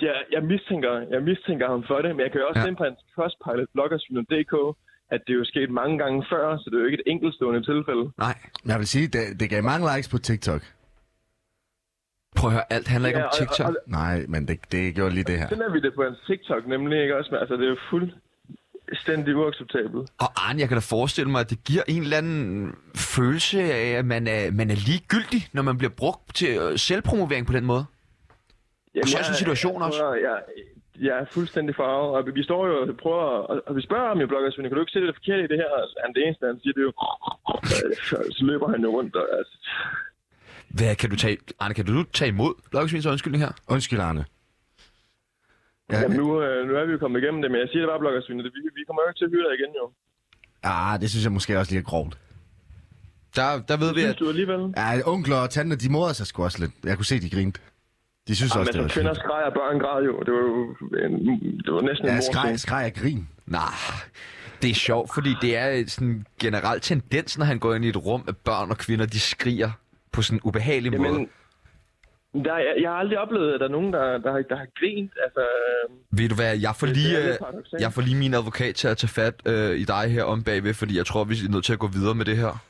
[SPEAKER 5] jeg, jeg, mistænker, jeg mistænker ham for det, men jeg kan jo også
[SPEAKER 1] Ja.
[SPEAKER 5] ja. ind på hans trustpilot-bloggersyn.dk, at det er jo sket mange gange før, så det er jo ikke et enkeltstående tilfælde.
[SPEAKER 1] Nej.
[SPEAKER 2] Jeg vil sige, det, det gav mange likes på TikTok.
[SPEAKER 1] Prøv at høre, alt handler ikke
[SPEAKER 5] Ja,
[SPEAKER 1] om
[SPEAKER 5] og-
[SPEAKER 1] TikTok.
[SPEAKER 5] og-
[SPEAKER 2] Nej, men det, det gjorde lige det her.
[SPEAKER 5] Sådan er vi det på hans TikTok nemlig, ikke også? Men altså, det er jo fuldstændig uacceptabelt.
[SPEAKER 1] Og Arne, jeg kan da forestille mig, at det giver en eller anden følelse af, at man er, man er ligegyldig, når man bliver brugt til øh, selvpromovering på den måde.
[SPEAKER 5] Jamen,
[SPEAKER 1] sådan en situation også.
[SPEAKER 5] Jeg, jeg, jeg er fuldstændig farvet, og vi, vi står jo og prøver, og, og vi spørger ham jo, bloggersvind, kan du ikke se det forkerte i det her? Altså, han, det eneste, han siger, det er jo, så løber han jo rundt, og altså,
[SPEAKER 1] Hvad kan du tage, Arne, kan du tage imod bloggesvins undskyldning her?
[SPEAKER 2] Undskyld, Arne.
[SPEAKER 5] ja,
[SPEAKER 2] Ja,
[SPEAKER 5] jamen, nu, øh, nu er vi jo kommet igennem det, men jeg siger det bare, bloggersvind, vi, vi kommer jo ikke til at hyre dig igen, jo.
[SPEAKER 2] ah, det synes jeg måske også lige er grovt.
[SPEAKER 1] Der, der ved vi, at
[SPEAKER 5] Det synes du alligevel.
[SPEAKER 2] Ja, onkler og tanter, de morede sig sgu også lidt. Jeg kunne se, de grinte. De synes
[SPEAKER 5] Jamen,
[SPEAKER 2] også, det var
[SPEAKER 5] altså, kvinder
[SPEAKER 2] fedt.
[SPEAKER 5] skreg og børn græd jo. Det var jo en, det var næsten en
[SPEAKER 2] Ja,
[SPEAKER 5] mordscene.
[SPEAKER 2] skreg, skreg og grin.
[SPEAKER 6] Nej, det er sjovt, fordi det er sådan en generel tendens, når han går ind i et rum, at børn og kvinder, de skriger på sådan en ubehagelig Jamen... måde.
[SPEAKER 5] Jamen, der, jeg, jeg har aldrig oplevet, at der er nogen, der, der, har- der har grint. Altså, øh,
[SPEAKER 6] Ved du hvad, jeg får
[SPEAKER 5] Det- det
[SPEAKER 6] lige,
[SPEAKER 5] er lidt
[SPEAKER 6] øh,
[SPEAKER 5] paradoksalt.
[SPEAKER 6] jeg får lige min advokat til at tage fat øh, i dig her om bagved, fordi jeg tror, vi er nødt til at gå videre med det her.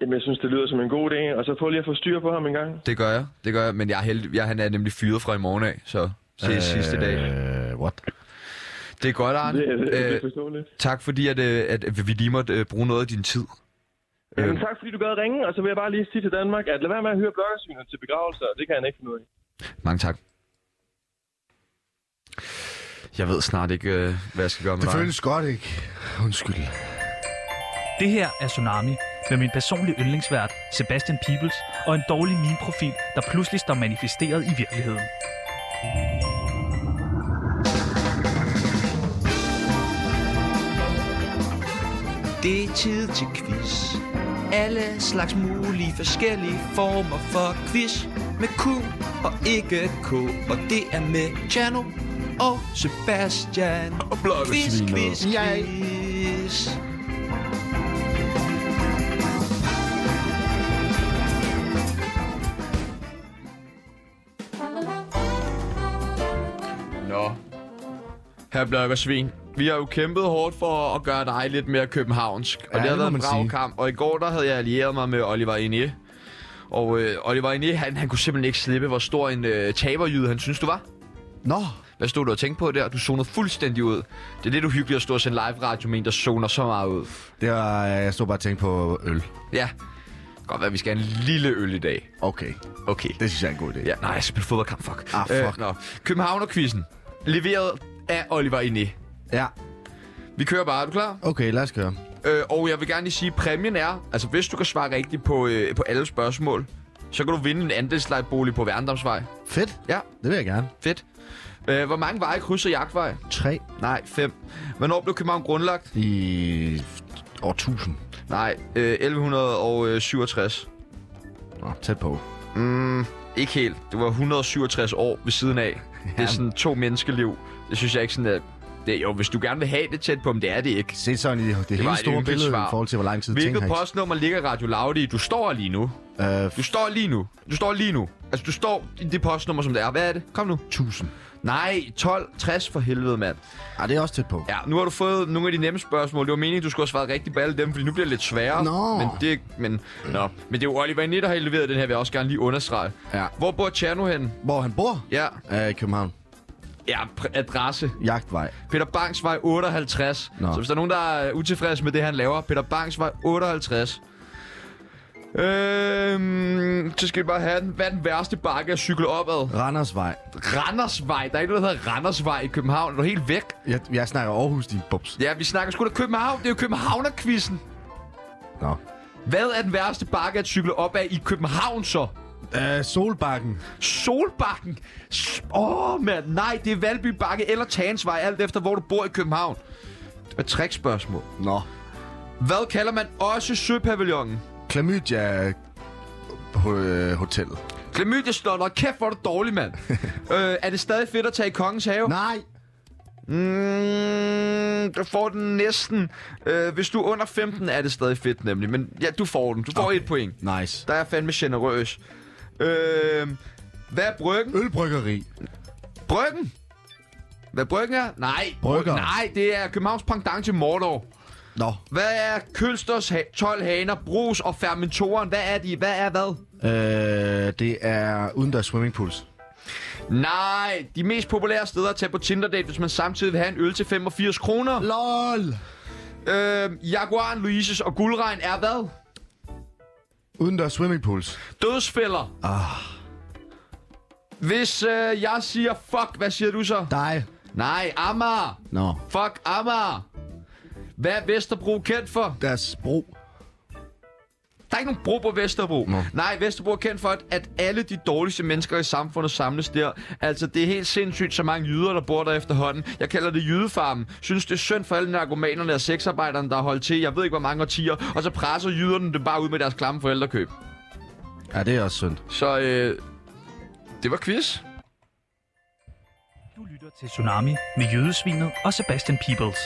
[SPEAKER 5] jamen, jeg synes, det lyder som en god idé. Og så prøv lige at få styr på ham en gang.
[SPEAKER 6] Det gør jeg, det gør jeg, men jeg er heldig, jeg, han er nemlig fyret fra i morgen af, så ses øh... sidste dag.
[SPEAKER 2] Øh, what?
[SPEAKER 6] Det er godt, Arne.
[SPEAKER 5] Det, det, det, det
[SPEAKER 6] Øh,
[SPEAKER 5] er forståeligt.
[SPEAKER 6] tak fordi, at, øh, at vi lige måtte øh, bruge noget af din tid. Øh,
[SPEAKER 5] Jamen,
[SPEAKER 1] øh.
[SPEAKER 5] tak fordi du gad at ringe, og så vil jeg bare lige sige til Danmark, at lad være med at høre blokkersvinet til begravelser. Det kan han ikke finde ud af.
[SPEAKER 6] Mange tak. Jeg ved snart ikke, øh, hvad jeg skal gøre med
[SPEAKER 2] Det
[SPEAKER 6] dig.
[SPEAKER 2] føles godt, ikke? Undskyld.
[SPEAKER 3] Det her er Tsunami med min personlige yndlingsvært, Sebastian Peebles, og en dårlig meme-profil, der pludselig står manifesteret i virkeligheden.
[SPEAKER 7] Det er tid til quiz. Alle slags mulige forskellige former for quiz. Med Q og ikke K. Og det er med Chano og Sebastian. Og quiz, quiz, quiz.
[SPEAKER 1] Nå. Her Blok og Svin. Vi har jo kæmpet hårdt for at gøre dig lidt mere københavnsk. Og ja, det har
[SPEAKER 2] det må
[SPEAKER 1] været en
[SPEAKER 2] man
[SPEAKER 1] brav
[SPEAKER 2] sige.
[SPEAKER 1] kamp. Og i går der havde jeg allieret mig med Oliver Ine. Og øh, Oliver Ine, han, han kunne simpelthen ikke slippe, hvor stor en øh, taberjyde han synes, du var.
[SPEAKER 2] Nå,
[SPEAKER 1] Hvad stod du og tænkte på der? Du zonede fuldstændig ud. Det er lidt uhyggeligt at stå og sende live radio med en, der zoner så meget ud.
[SPEAKER 2] det var, jeg stod bare og tænkte på øl.
[SPEAKER 1] Ja. Godt være, at vi skal have en lille øl i dag.
[SPEAKER 2] Okay,
[SPEAKER 1] Okay.
[SPEAKER 2] det synes jeg er en god idé.
[SPEAKER 1] Ja, nej, jeg spiller fodboldkamp, fuck. Øh,
[SPEAKER 2] Ah, fuck.
[SPEAKER 1] nå. Københavner-quizzen. Leveret af Oliver Ine.
[SPEAKER 2] ja.
[SPEAKER 1] Vi kører bare. Er du klar?
[SPEAKER 2] Okay, lad os køre.
[SPEAKER 1] Øh, og jeg vil gerne lige sige, at præmien er, altså hvis du kan svare rigtigt på, øh, på alle spørgsmål, så kan du vinde en andelslejbolig på Værendomsvej.
[SPEAKER 2] Fedt.
[SPEAKER 1] Ja.
[SPEAKER 2] Det vil jeg gerne.
[SPEAKER 1] Fedt. Øh, hvor mange veje krydser jagtvej?
[SPEAKER 2] Tre
[SPEAKER 1] Nej, fem. Hvornår blev København grundlagt?
[SPEAKER 2] i år 1000.
[SPEAKER 1] Nej, øh, 1167.
[SPEAKER 2] Nå, tæt på.
[SPEAKER 1] Mm, ikke helt. Det var 167 år ved siden af. Det er sådan to menneskeliv. Det synes jeg ikke sådan, at... Det, er- jo, hvis du gerne vil have det tæt på, men det er det ikke.
[SPEAKER 2] Se sådan i det, det
[SPEAKER 1] var
[SPEAKER 2] hele
[SPEAKER 1] et
[SPEAKER 2] store
[SPEAKER 1] ynkeligt
[SPEAKER 2] billede
[SPEAKER 1] svar.
[SPEAKER 2] i forhold til, hvor lang tid ting
[SPEAKER 1] Hvilket
[SPEAKER 2] har
[SPEAKER 1] postnummer ligger Radio Laude i? Du står lige nu.
[SPEAKER 2] Øh,
[SPEAKER 1] Du står lige nu. Du står lige nu. Altså, du står i det postnummer, som det er. Hvad er det? Kom nu.
[SPEAKER 2] 1000.
[SPEAKER 1] Nej, 12. 60 for helvede, mand.
[SPEAKER 2] Ah, det er også tæt på.
[SPEAKER 1] Ja, nu har du fået nogle af de nemme spørgsmål. Det var meningen, du skulle have svaret rigtigt på alle dem, fordi nu bliver det lidt sværere.
[SPEAKER 2] Nå.
[SPEAKER 1] Men det, men, nå. men det er jo Oliver Inde, der har leveret den her, vil jeg også gerne lige understrege.
[SPEAKER 2] Ja.
[SPEAKER 1] Hvor bor Tjerno hen?
[SPEAKER 2] Hvor han bor?
[SPEAKER 1] Ja,
[SPEAKER 2] Øh, i København.
[SPEAKER 1] ja pr- adresse.
[SPEAKER 2] Jagtvej.
[SPEAKER 1] Peter Bangsvej 58.
[SPEAKER 2] Nå.
[SPEAKER 1] Så hvis der er nogen, der er utilfredse med det, han laver, Peter Bangsvej 58. Øhm, så skal vi bare have den. Hvad er den værste bakke at cykle opad?
[SPEAKER 2] Randersvej.
[SPEAKER 1] Randersvej. Der er ikke noget, der hedder Randersvej i København. Du er helt væk.
[SPEAKER 2] Jeg, jeg snakker Aarhus, din bubs.
[SPEAKER 1] Ja, vi snakker sgu da København. Det er jo Københavnerquizzen.
[SPEAKER 2] Nå.
[SPEAKER 1] Hvad er den værste bakke at cykle opad i København så?
[SPEAKER 2] Øh, Solbakken.
[SPEAKER 1] Solbakken. S- Åh, oh, mand. Nej, det er Valby Bakke eller Tagensvej, alt efter hvor du bor i København. Det var et trickspørgsmål.
[SPEAKER 2] Nå.
[SPEAKER 1] Hvad kalder man også Søpavillonen?
[SPEAKER 2] Klamydia øh, Hotel.
[SPEAKER 1] Klamydia Slotter, kæft hvor er du dårlig, mand. øh, er det stadig fedt at tage i Kongens Have?
[SPEAKER 2] Nej.
[SPEAKER 1] Mm, du får den næsten. Øh, hvis du er under 15, er det stadig fedt nemlig. Men ja, du får den. Du får okay. et point.
[SPEAKER 2] Nice.
[SPEAKER 1] Der er jeg fandme generøs. Øh, hvad er bryggen?
[SPEAKER 2] Ølbryggeri.
[SPEAKER 1] Bryggen? Hvad bryggen er? Nej.
[SPEAKER 2] Brygger.
[SPEAKER 1] Nej, det er Københavns pendant til Mordor.
[SPEAKER 2] Nå.
[SPEAKER 1] Hvad er Kølsters ha- 12 haner, brus og fermentoren? Hvad er de? Hvad er hvad?
[SPEAKER 2] Øh, det er udendørs swimmingpools.
[SPEAKER 1] Nej, de mest populære steder at tage på Tinder-date, hvis man samtidig vil have en øl til 85 kroner.
[SPEAKER 2] LOL.
[SPEAKER 1] Øh, Jaguaren, Louises og Guldregn er hvad?
[SPEAKER 2] Udendørs swimmingpools.
[SPEAKER 1] Dødsfælder. Ah. Hvis øh, jeg siger fuck, hvad siger du så?
[SPEAKER 2] Dig.
[SPEAKER 1] Nej, Amager.
[SPEAKER 2] Nå.
[SPEAKER 1] Fuck Amager. Hvad er Vesterbro kendt for?
[SPEAKER 2] Deres bro.
[SPEAKER 1] Der er ikke nogen bro på Vesterbro.
[SPEAKER 2] Nå.
[SPEAKER 1] Nej, Vesterbro er kendt for, at, at alle de dårligste mennesker i samfundet samles der. Altså, det er helt sindssygt, så mange jyder, der bor der efterhånden. Jeg kalder det jydefarmen. Synes, det er synd for alle narkomanerne og sexarbejderne, der har holdt til. Jeg ved ikke, hvor mange årtier. Og så presser jyderne det bare ud med deres klamme forældrekøb.
[SPEAKER 2] Ja, det er også synd.
[SPEAKER 1] Så øh, Det var quiz.
[SPEAKER 3] Du lytter til Tsunami med Jødesvinet og Sebastian Peebles.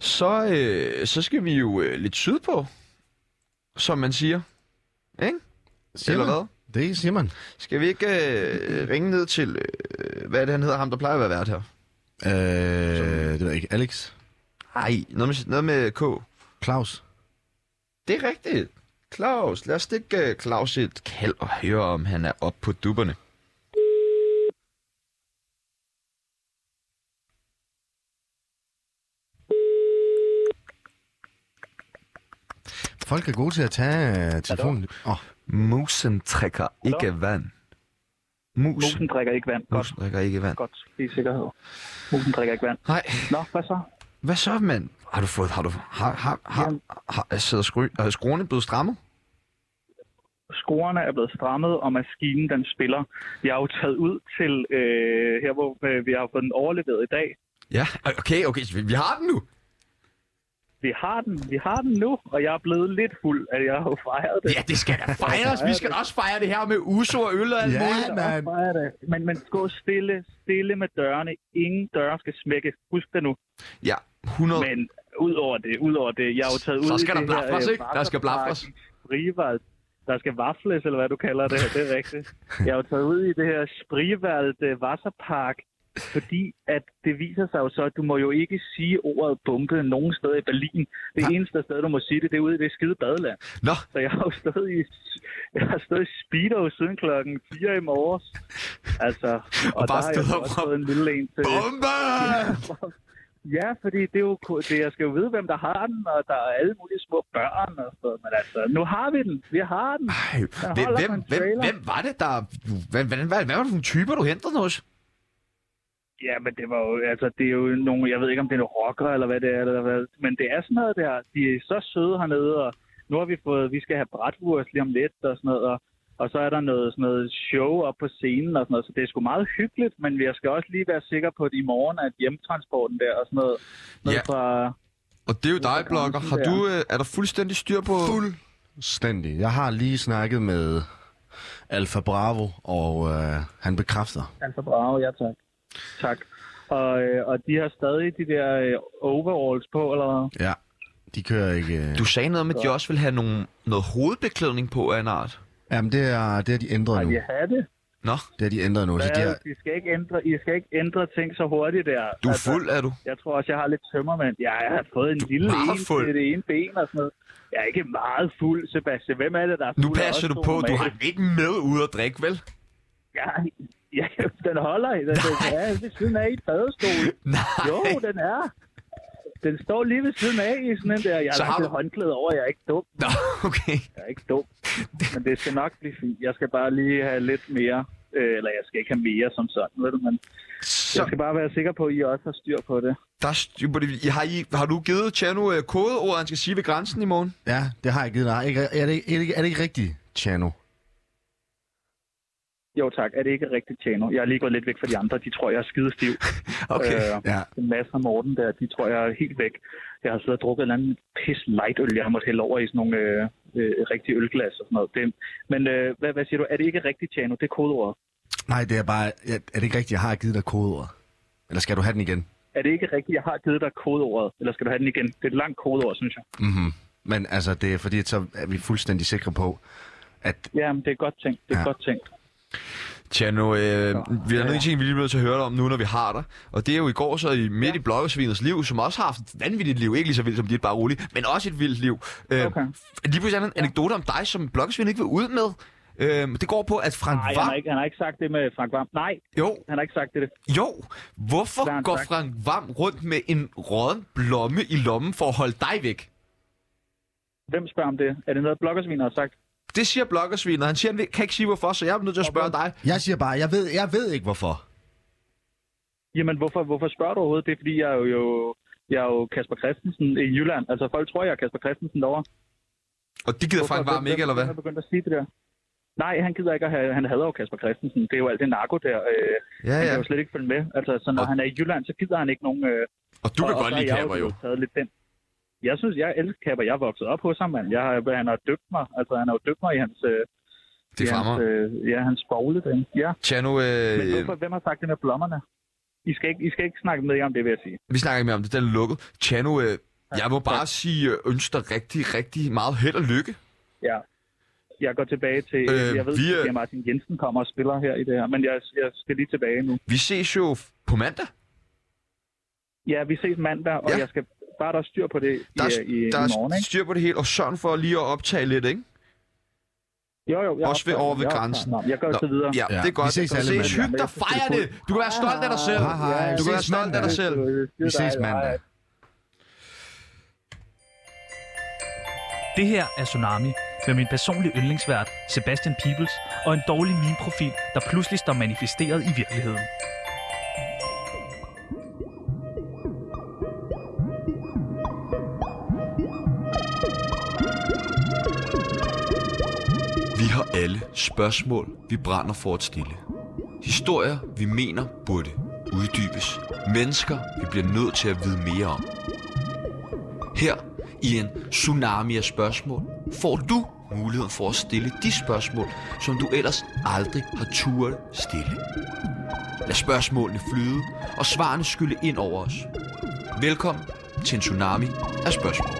[SPEAKER 1] Så, øh, så skal vi jo øh, lidt sydpå, som man siger. Ikke?
[SPEAKER 2] Siger
[SPEAKER 1] Eller
[SPEAKER 2] man? Det siger man.
[SPEAKER 1] Skal vi ikke øh, ringe ned til, øh, hvad er det, han hedder, ham der plejer at være vært her?
[SPEAKER 2] Øh, det ved jeg ikke. Alex?
[SPEAKER 1] Nej, noget med, noget med K.
[SPEAKER 2] Claus?
[SPEAKER 1] Det er rigtigt. Claus, lad os stikke øh, Claus et kald og høre, om han er oppe på dupperne.
[SPEAKER 2] Folk er gode til at tage øh, telefonen. Åh, oh,
[SPEAKER 1] Musen trækker ikke vand. Musen,
[SPEAKER 8] Musen drikker ikke vand. Godt,
[SPEAKER 1] Musen trækker ikke vand.
[SPEAKER 8] godt. Det er sikkerhed. Musen drikker ikke vand.
[SPEAKER 1] Nej,
[SPEAKER 8] Nå, hvad så?
[SPEAKER 1] hvad så, mand? Har du fået, har du, har, har, har,
[SPEAKER 8] Jamen.
[SPEAKER 1] har, har sidder skru, er skruerne blevet strammet?
[SPEAKER 8] Skruerne er blevet strammet, og maskinen den spiller. Jeg er jo taget ud til øh, her, hvor øh, vi har fået den overleveret i dag.
[SPEAKER 1] Ja, okay, okay, så vi, vi har den nu.
[SPEAKER 8] Vi har den, vi har den nu, og jeg er blevet lidt fuld, at jeg har jo fejret det.
[SPEAKER 9] Ja, det skal da fejres. Vi skal da også fejre det her med uso og øl og alt muligt.
[SPEAKER 2] ja, man.
[SPEAKER 8] Fejret det. Men, men gå stille, stille med dørene. Ingen døre skal smække. Husk det nu.
[SPEAKER 1] Ja, 100. Men.
[SPEAKER 8] Men ud over det, ud over det, jeg er jo taget
[SPEAKER 9] Så
[SPEAKER 8] ud
[SPEAKER 9] skal
[SPEAKER 8] i
[SPEAKER 9] der
[SPEAKER 8] det her,
[SPEAKER 9] blafres,
[SPEAKER 8] øh,
[SPEAKER 9] ikke? Der skal blafres.
[SPEAKER 8] Sprivald. Der skal vafles, eller hvad du kalder det. Det er rigtigt. Jeg er jo taget ud i det her Sprivald øh, Wasserpark, fordi at det viser sig jo så, at du må jo ikke sige ordet bombe nogen sted i Berlin. Det eneste sted, du må sige det, det er ude i det skide badeland.
[SPEAKER 1] Nå,
[SPEAKER 8] Så jeg har jo stået i, jeg har stået i Speedo siden klokken 4 i morges. Altså, og, og
[SPEAKER 9] bare
[SPEAKER 8] der har jeg
[SPEAKER 9] stået
[SPEAKER 8] så
[SPEAKER 9] og
[SPEAKER 8] også
[SPEAKER 9] råbt,
[SPEAKER 8] fået en lille en til.
[SPEAKER 9] Bombe!
[SPEAKER 8] (laughs) Ja, fordi det er jo, ko- det, jeg skal jo vide, hvem der har den, og der er alle mulige små børn og sådan noget. Men altså, nu har vi den. Vi har den.
[SPEAKER 1] ej, hvem,
[SPEAKER 8] holder på
[SPEAKER 1] hvem,
[SPEAKER 8] en
[SPEAKER 1] hvem,
[SPEAKER 8] trailer.
[SPEAKER 1] hvem var det, der... Hvad, hvad, hvad, hvad var det for en typer, du hentede den hos?
[SPEAKER 8] Ja, men det var jo, altså, det er jo nogle, jeg ved ikke, om det er nogle rockere eller hvad det er, eller hvad, men det er sådan noget der. De er så søde hernede, og nu har vi fået, vi skal have brætvurs lige om lidt og sådan noget, og, og så er der noget, sådan noget show op på scenen og sådan noget, så det er sgu meget hyggeligt, men jeg skal også lige være sikker på, at i morgen er hjemtransporten der og sådan noget. noget
[SPEAKER 1] Ja.
[SPEAKER 8] Fra,
[SPEAKER 1] Og det er jo dig,
[SPEAKER 8] Grænsen
[SPEAKER 1] Blokker. Har
[SPEAKER 8] der.
[SPEAKER 1] du, øh, er der fuldstændig styr på...
[SPEAKER 2] Stændig. Jeg har lige snakket med Alfa Bravo, og øh, han bekræfter.
[SPEAKER 8] Alfa Bravo, ja tak. Tak. Og, øh, og de har stadig de der øh, overalls på, eller hvad?
[SPEAKER 2] Ja. De kører ikke... Øh...
[SPEAKER 1] Du sagde noget om, at de også ville have nogle, noget hovedbeklædning på af en art.
[SPEAKER 2] Jamen, det er, det er de ændret
[SPEAKER 8] Har
[SPEAKER 2] nu.
[SPEAKER 8] de hatte?
[SPEAKER 1] Nå,
[SPEAKER 2] Det er de ændret nu. Så de
[SPEAKER 8] Ja,
[SPEAKER 2] har...
[SPEAKER 8] de skal ikke ændre, I skal ikke ændre ting så hurtigt der. Altså,
[SPEAKER 1] du er fuld, Altså, er du?
[SPEAKER 8] Jeg tror også, jeg har lidt tømmermænd. Ja, jeg har fået en
[SPEAKER 1] Du er
[SPEAKER 8] lille
[SPEAKER 1] meget
[SPEAKER 8] en
[SPEAKER 1] fuld.
[SPEAKER 8] til det ene ben og sådan noget. Jeg er ikke meget fuld, Sebastian. Hvem er det, der er fuld?
[SPEAKER 1] Nu
[SPEAKER 8] af
[SPEAKER 1] passer
[SPEAKER 8] os
[SPEAKER 1] du
[SPEAKER 8] to
[SPEAKER 1] på, du
[SPEAKER 8] normalt?
[SPEAKER 1] har den ikke med ude at drikke, vel?
[SPEAKER 8] Ja, ja, den holder. Den, den er ved siden af i et badestol.
[SPEAKER 1] Nej.
[SPEAKER 8] Jo, den er. Den står lige ved siden af i sådan en der. Jeg
[SPEAKER 1] Så
[SPEAKER 8] har
[SPEAKER 1] har
[SPEAKER 8] lagt et
[SPEAKER 1] du-
[SPEAKER 8] håndklæde over. Jeg er ikke dum.
[SPEAKER 1] Nå, okay.
[SPEAKER 8] Jeg er ikke dum. Men det skal nok blive fint. Jeg skal bare lige have lidt mere. Øh, eller jeg skal ikke have mere som sådan, ved du, men jeg
[SPEAKER 1] Så,
[SPEAKER 8] skal bare være sikker på, at I også har styr på det.
[SPEAKER 1] der er styr på det. Har, I, har du givet Tjerno øh, kodeordet, han skal sige ved grænsen i morgen?
[SPEAKER 2] Ja, det har jeg givet dig. Er, ikke- er, det, ikke- er, det, ikke- er det ikke rigtigt, Chano?
[SPEAKER 8] Jo tak, er det ikke rigtigt, Tjano? Jeg er lige gået lidt væk fra de andre, de tror, jeg er skidestiv.
[SPEAKER 1] (laughs) Okay.
[SPEAKER 8] Øh,
[SPEAKER 2] Ja.
[SPEAKER 8] Mads og Morten der, de tror, jeg er helt væk. Jeg har siddet og drukket en eller anden pis lightøl, jeg har måttet hælde over i sådan nogle øh, øh, rigtige ølglas og sådan noget. Det, men øh, hvad, hvad siger du? Er det ikke rigtigt, Tjano? Det er kodeordet.
[SPEAKER 2] Nej, det er bare... ja, Er det ikke rigtigt, jeg har givet dig kodeordet? Eller skal du have den igen?
[SPEAKER 8] Er det ikke rigtigt, jeg har givet dig kodeordet? Eller skal du have den igen? Det er et langt kodeord, synes jeg.
[SPEAKER 2] Mhm. Men altså, det er fordi, så er vi fuldstændig sikre på, at...
[SPEAKER 8] Ja, men det er godt tænkt. Det er
[SPEAKER 2] Ja.
[SPEAKER 8] ja. godt tænkt.
[SPEAKER 1] Tjerno, øh, vi har nødt til vi lige bliver nødt til at høre dig om nu, når vi har dig. Og det er jo i går så i midt i bloggersvinets liv, som også har haft et vanvittigt liv. Ikke lige så vildt som dit, bare roligt, men også et vildt liv. Øh,
[SPEAKER 8] Okay.
[SPEAKER 1] Lige pludselig er der en anekdote om dig, som bloggersvin ikke vil ud med. Øh, det går på, at Frank
[SPEAKER 8] Nej, han har,
[SPEAKER 1] Vam...
[SPEAKER 8] ikke, han har ikke sagt det med Frank Vam. Nej,
[SPEAKER 1] Jo,
[SPEAKER 8] han har ikke sagt det.
[SPEAKER 1] Jo, hvorfor
[SPEAKER 8] Klart,
[SPEAKER 1] går
[SPEAKER 8] tak.
[SPEAKER 1] Frank Vam rundt med en råden blomme i lommen for at holde dig væk?
[SPEAKER 8] Hvem spørger om det? Er det noget, bloggersvin har sagt?
[SPEAKER 1] Det siger bloggersvinet, han siger, han kan ikke sige hvorfor, så jeg er nødt til at spørge dig.
[SPEAKER 2] Jeg siger bare, jeg ved, jeg ved ikke, hvorfor.
[SPEAKER 8] Jamen, hvorfor, hvorfor spørger du overhovedet? Det er, fordi jeg er jo, jeg er jo Kasper Christensen i Jylland. Altså, folk tror, jeg er Kasper Christensen derovre.
[SPEAKER 1] Og det gider Frank Vam ikke, eller hvad?
[SPEAKER 8] Han er begyndt at sige det der. Nej, han gider ikke at have... Han hader jo Kasper Christensen. Det er jo alt det narko der. Øh,
[SPEAKER 1] Ja,
[SPEAKER 8] han kan
[SPEAKER 1] ja.
[SPEAKER 8] jo slet ikke følge med. Altså, så når
[SPEAKER 1] Og-
[SPEAKER 8] han er i Jylland, så gider han ikke nogen... Øh,
[SPEAKER 9] Og du kan
[SPEAKER 8] og- og
[SPEAKER 9] godt
[SPEAKER 8] så
[SPEAKER 9] lide
[SPEAKER 8] har jeg
[SPEAKER 9] kapper, jo.
[SPEAKER 8] blevet Taget lidt den. Jeg synes, jeg elsker kapper. Jeg er vokset op hos ham, mand. Jeg, har- han har døbt mig. Altså, han har jo døbt mig i hans... Øh,
[SPEAKER 1] Det
[SPEAKER 8] i
[SPEAKER 1] er
[SPEAKER 8] hans,
[SPEAKER 1] fremmer.
[SPEAKER 8] øh, ja, hans bogledring. Ja.
[SPEAKER 1] Tjano, øh,
[SPEAKER 8] Men hvorfor, hvem har sagt det med blommerne? I skal ikke, I skal ikke snakke med jer om det, vil jeg sige.
[SPEAKER 1] vi snakker ikke mere om det, den er lukket. Tjano, øh, jeg må bare sige, øh, ønsker rigtig, rigtig meget held og lykke.
[SPEAKER 8] Ja. Jeg går tilbage til...
[SPEAKER 1] Øh,
[SPEAKER 8] Øh, jeg ved,
[SPEAKER 1] vi er-
[SPEAKER 8] at Martin Jensen kommer og spiller her i det her, men jeg, jeg skal lige tilbage nu.
[SPEAKER 1] Vi ses jo f- på mandag.
[SPEAKER 8] Ja, vi ses mandag, og
[SPEAKER 1] Ja.
[SPEAKER 8] ja. jeg skal bare der er styr på det i,
[SPEAKER 1] Der er,
[SPEAKER 8] i, i
[SPEAKER 1] der
[SPEAKER 8] morgen,
[SPEAKER 1] er
[SPEAKER 8] ikke?
[SPEAKER 1] styr på det hele, og sørg for lige at optage lidt, ikke?
[SPEAKER 8] Jo, jo. Jeg
[SPEAKER 1] Også ved-
[SPEAKER 8] optager
[SPEAKER 1] over
[SPEAKER 8] den.
[SPEAKER 1] ved
[SPEAKER 8] Jeg optager
[SPEAKER 1] grænsen.
[SPEAKER 8] den. Nå, Jeg går så videre.
[SPEAKER 1] Ja,
[SPEAKER 10] Ja.
[SPEAKER 1] det er godt.
[SPEAKER 10] Vi ses alle
[SPEAKER 1] ses.
[SPEAKER 10] mandag.
[SPEAKER 1] Hyg dig, fejr det. Du kan være stolt af dig selv.
[SPEAKER 10] Hej, hej.
[SPEAKER 1] Du kan
[SPEAKER 10] Vi
[SPEAKER 1] være
[SPEAKER 10] ses
[SPEAKER 1] stolt af dig
[SPEAKER 10] mandag.
[SPEAKER 1] selv.
[SPEAKER 10] Vi ses mandag.
[SPEAKER 3] Det her er Tsunami med min personlige yndlingsvært, Sebastian Peebles, og en dårlig meme-profil, der pludselig står manifesteret i virkeligheden.
[SPEAKER 11] Vi har alle spørgsmål, vi brænder for at stille. Historier, vi mener burde uddybes. Mennesker, vi bliver nødt til at vide mere om. Her i en tsunami af spørgsmål får du muligheden for at stille de spørgsmål, som du ellers aldrig har turet stille. Lad spørgsmålene flyde, og svarene skylle ind over os. Velkommen til en tsunami af spørgsmål.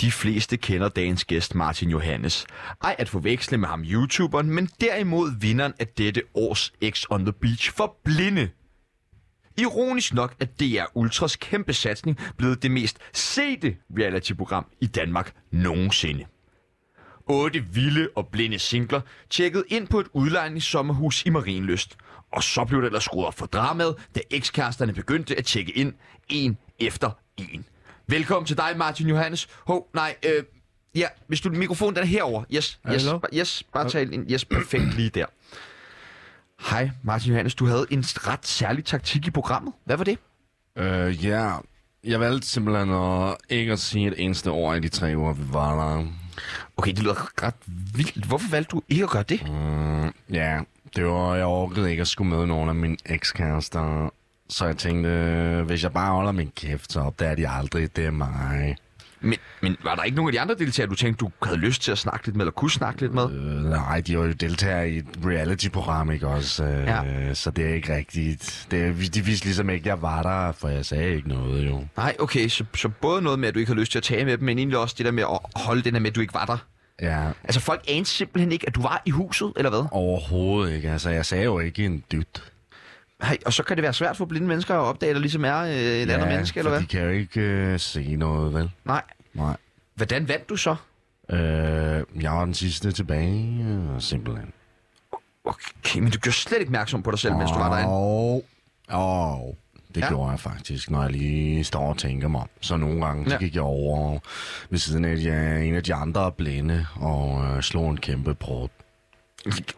[SPEAKER 1] De fleste kender dagens gæst Martin Johannes. Ej at forveksle med ham YouTuberen, men derimod vinderen af dette års X on the Beach for blinde. Ironisk nok er DR Ultras kæmpe satsning blevet det mest sete reality-program i Danmark nogensinde. Otte vilde og blinde singler tjekkede ind på et udlejningssommerhus i Marienlyst. Og så blev det ellers skruet op for dramaet, da ekskæresterne begyndte at tjekke ind en efter en. Velkommen til dig, Martin Johannes. Hov, nej, øh, ja, hvis du, mikrofonen den er herover. Yes, yes,
[SPEAKER 2] Hallo?
[SPEAKER 1] ba- yes, bare tal ind. Yes, perfekt lige der. Hej, Martin Johannes. Du havde en ret særlig taktik i programmet. Hvad var det?
[SPEAKER 2] Øh, ja. Jeg valgte simpelthen at ikke at sige et eneste ord i de tre uger, vi var der.
[SPEAKER 1] Okay, det lyder ret vildt. Hvorfor valgte du ikke at gøre det?
[SPEAKER 2] Mm, ja, det var, jeg orkede ikke at skulle møde nogen af mine ekskærester. Så jeg tænkte, hvis jeg bare holder min kæft, så opdager de aldrig, det er mig.
[SPEAKER 1] Men, men var der ikke nogen af de andre deltagere, du tænkte, du havde lyst til at snakke lidt med, eller kunne snakke lidt med?
[SPEAKER 2] Øh, nej, de var jo deltagere i et reality-program, ikke også? Øh,
[SPEAKER 1] Ja.
[SPEAKER 2] ja. Så det er ikke rigtigt. Det, de vidste ligesom ikke, jeg var der, for jeg sagde ikke noget, jo.
[SPEAKER 1] Nej, okay, så, så både noget med, at du ikke havde lyst til at tale med dem, men egentlig også det der med at holde den der med, at du ikke var der.
[SPEAKER 2] Ja,
[SPEAKER 1] Altså, folk anede simpelthen ikke, at du var i huset, eller hvad?
[SPEAKER 2] overhovedet ikke. Altså, jeg sagde jo ikke en dyt.
[SPEAKER 1] Hej, og så kan det være svært for blinde mennesker at opdage, at der ligesom er øh, et ja, andet menneske, eller
[SPEAKER 2] for
[SPEAKER 1] hvad?
[SPEAKER 2] de kan jo ikke øh, se noget, vel?
[SPEAKER 1] Nej.
[SPEAKER 2] Nej.
[SPEAKER 1] Hvordan vandt du så?
[SPEAKER 2] Øh, jeg var den sidste tilbage, øh, simpelthen.
[SPEAKER 1] Okay, men du gjorde slet ikke opmærksom på dig selv, mens du var derinde.
[SPEAKER 2] Og, og det
[SPEAKER 1] Ja.
[SPEAKER 2] ja. gjorde jeg faktisk, når jeg lige står og tænker mig om. Så nogle gange, ja.
[SPEAKER 1] Ja.
[SPEAKER 2] så gik jeg over ved siden af ja, en af de andre blinde og øh, slog en kæmpe brud.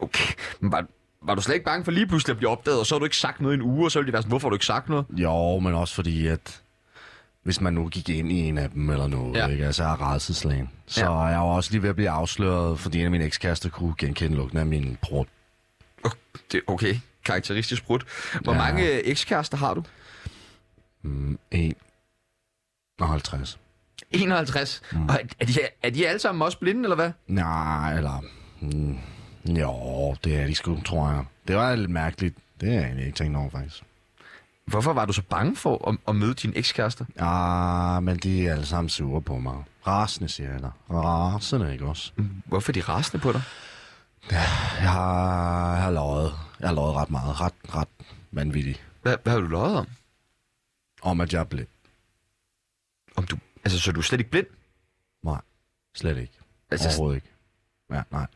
[SPEAKER 1] Okay, men var, var du slet ikke bange for lige pludselig at blive opdaget, og så har du ikke sagt noget i en uge, og så ville de være sådan, hvorfor har du ikke sagt noget?
[SPEAKER 2] Jo, men også fordi, at hvis man nu gik ind i en af dem eller noget,
[SPEAKER 1] Ja.
[SPEAKER 2] ja. ikke? altså jeg er redselslagen. Så
[SPEAKER 1] Ja.
[SPEAKER 2] ja. jeg var også lige ved at blive afsløret, fordi en af mine ekskærester kunne genkende lugten af min brud.
[SPEAKER 1] Det, okay, karakteristisk brudt. Hvor ja.
[SPEAKER 2] Ja.
[SPEAKER 1] mange øh, ekskærester har du?
[SPEAKER 2] Mm, 1 og 50.
[SPEAKER 1] 51. Mm. Og er, er, de, er de alle sammen også blinde, eller hvad?
[SPEAKER 2] Nej, eller... Mm, jo, det er de sgu, tror jeg. Det var lidt mærkeligt. Det har jeg egentlig ikke tænkt over, faktisk.
[SPEAKER 1] Hvorfor var du så bange for at, at møde dine ekskærester?
[SPEAKER 2] Ah, men de er alle sammen sure på mig. Rasende, siger jeg da. Rasende, ikke også?
[SPEAKER 1] Hvorfor er de rasende på dig?
[SPEAKER 2] Jeg har, jeg har løjet. Jeg har løjet ret meget. Ret, ret vanvittigt.
[SPEAKER 1] Hvad, hvad har du løjet om?
[SPEAKER 2] Om, at jeg er blind.
[SPEAKER 1] om du, altså, så er du slet ikke blind?
[SPEAKER 2] Nej, slet ikke.
[SPEAKER 1] Altså,
[SPEAKER 2] Overhovedet ikke. Ja, nej.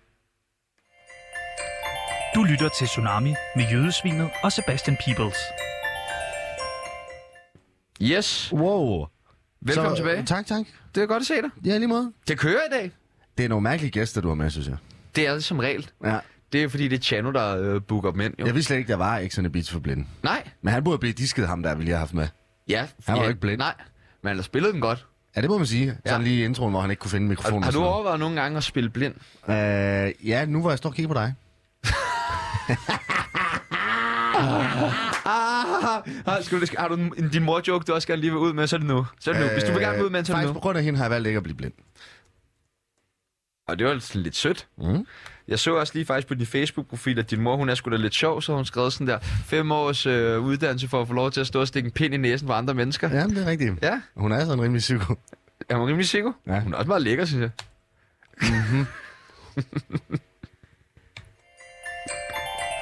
[SPEAKER 3] Du lytter til Tsunami med Jødesvinet og Sebastian Peebles.
[SPEAKER 1] Yes,
[SPEAKER 2] Wow.
[SPEAKER 1] velkommen så, tilbage.
[SPEAKER 2] øh, Tak, tak.
[SPEAKER 1] Det er godt at se dig.
[SPEAKER 2] Ja, lige måde.
[SPEAKER 1] Det kører i dag.
[SPEAKER 2] Det er nogle mærkelige gæster, du har med, synes jeg.
[SPEAKER 1] Det er det som regel.
[SPEAKER 2] Ja.
[SPEAKER 1] Det er fordi, det er Chano, der øh, booker dem ind. Jo.
[SPEAKER 2] Jeg vidste slet ikke, der var X on the Beach for blinde.
[SPEAKER 1] Nej.
[SPEAKER 2] Men han burde blive disket, ham der ville jeg have haft med.
[SPEAKER 1] Ja.
[SPEAKER 2] Han
[SPEAKER 1] ja,
[SPEAKER 2] var jo ikke blind.
[SPEAKER 1] Nej, men han har spillet den godt.
[SPEAKER 2] Ja, det må man sige.
[SPEAKER 1] Ja.
[SPEAKER 2] Sådan lige i introen, hvor han ikke kunne finde
[SPEAKER 1] Har,
[SPEAKER 2] mikrofonen.
[SPEAKER 1] har
[SPEAKER 2] og
[SPEAKER 1] du
[SPEAKER 2] sådan
[SPEAKER 1] overvejet nogle gange at spille blind?
[SPEAKER 2] noget. Øh, ja, nu var jeg står og kigger på dig.
[SPEAKER 1] Ah, Har, skal du, har du en- din mor-joke, du også gerne lige Øh, vil ud med, så er det nu. Så er det nu. Hvis du vil gerne ud med, så er det
[SPEAKER 2] Øh, Faktisk
[SPEAKER 1] nu.
[SPEAKER 2] på grund af hende har jeg valgt ikke at blive blind.
[SPEAKER 1] Og det var sådan lidt sødt.
[SPEAKER 2] Mm.
[SPEAKER 1] Jeg så også lige faktisk på din Facebook-profil, at din mor, hun er sgu da lidt sjov, så hun skrev sådan der, fem års øh, uddannelse for at få lov til at stå og stikke en pind i næsen for andre mennesker. Ja.
[SPEAKER 2] Ja, det er rigtigt.
[SPEAKER 1] ja.
[SPEAKER 2] Hun er sådan rimelig psyko.
[SPEAKER 1] Er hun rimelig sikker?
[SPEAKER 2] Ja.
[SPEAKER 1] Hun er også meget lækker, synes jeg.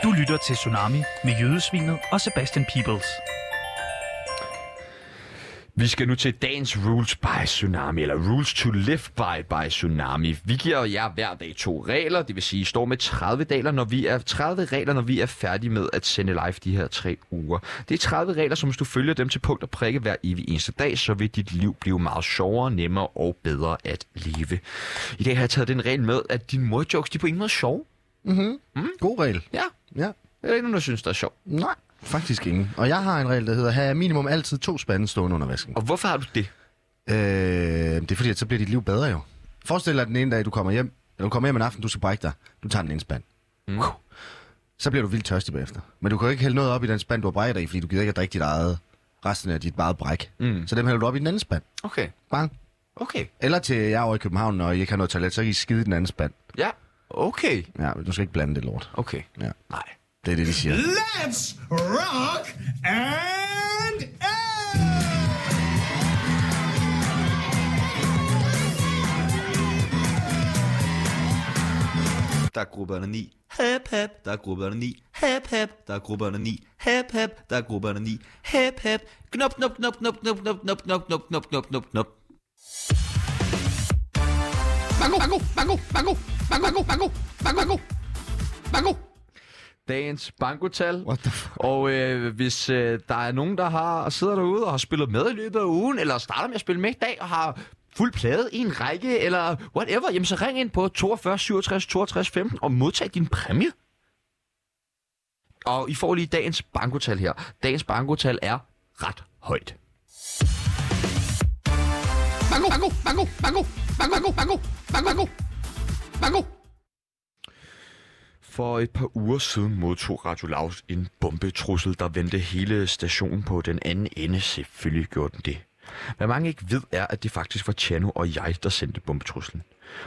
[SPEAKER 3] Du lytter til Tsunami med Jødesvinet og Sebastian Peebles.
[SPEAKER 1] Vi skal nu til dagens Rules by Tsunami, eller Rules to Live by by Tsunami. Vi giver jer hver dag to regler, det vil sige, I står med 30 regler, når vi er, 30 regler, når vi er færdige med at sende live de her tre uger. Det er 30 regler, som hvis du følger dem til punkt og prikke hver evig eneste dag, så vil dit liv blive meget sjovere, nemmere og bedre at leve. I dag har jeg taget den regel med, at dine morjokes, de er på ingen måde sjove.
[SPEAKER 2] God regel.
[SPEAKER 1] Ja,
[SPEAKER 2] Ja.
[SPEAKER 1] det er ikke nogen, der synes, der er sjov.
[SPEAKER 2] Nej, faktisk ingen. Og jeg har en regel, der hedder, have minimum altid to spande stående under vasken.
[SPEAKER 1] Og hvorfor har du det?
[SPEAKER 2] Øh, det er fordi, at så bliver dit liv bedre jo. Forestil dig at den ene dag, du kommer hjem, eller du kommer hjem en aften, du skal brække dig. Du tager den ene spand.
[SPEAKER 1] Mm.
[SPEAKER 2] Så bliver du vildt tørstig bagefter. Men du kan jo ikke hælde noget op i den spand, du har brækket dig i, fordi du gider ikke at drikke dit eget, resten af dit eget bræk.
[SPEAKER 1] Mm.
[SPEAKER 2] Så dem hælder du op i den anden spand.
[SPEAKER 1] Okay,
[SPEAKER 2] Bang.
[SPEAKER 1] okay,
[SPEAKER 2] Eller til jer over i København, og I ikke har noget toilet, så kan I skide i den anden spand.
[SPEAKER 1] ja, okay,
[SPEAKER 2] Ja, du skal ikke blande det lort.
[SPEAKER 1] okay.
[SPEAKER 2] Ja.
[SPEAKER 1] Nej.
[SPEAKER 2] Det er det, de siger.
[SPEAKER 12] Let's rock and air!
[SPEAKER 7] Der er grupperne 9. Hep hep, der er grupperne 9. Hep hep, der er grupperne 9. Hep hep, der er grupperne 9. Hep hep. Knop knop knop knop knop knop knop knop knop knop knop knop knop.
[SPEAKER 1] Mango, mango, mango, mango, mango, mango, mango, mango, mango, mango. Dagens bankotal.
[SPEAKER 2] What the fuck?
[SPEAKER 1] Og øh, hvis øh, der er nogen, der har sidder derude og har spillet med i løbet af ugen, eller starter med at spille med i dag og har fuld plade i en række, eller whatever, jamen så ring ind på 42 67 62 15 og modtag din præmie. Og I får lige dagens bankotal her. Dagens bankotal er ret højt. Bango, bango, bango, bango, bango, bango, bango, bango, bango, bango. For et par uger siden modtog Radio Laus en bombetrussel, der vendte hele stationen på den anden ende. Selvfølgelig gjorde den det. Hvad mange ikke ved er, at det faktisk var Chano og jeg, der sendte bombetruslen.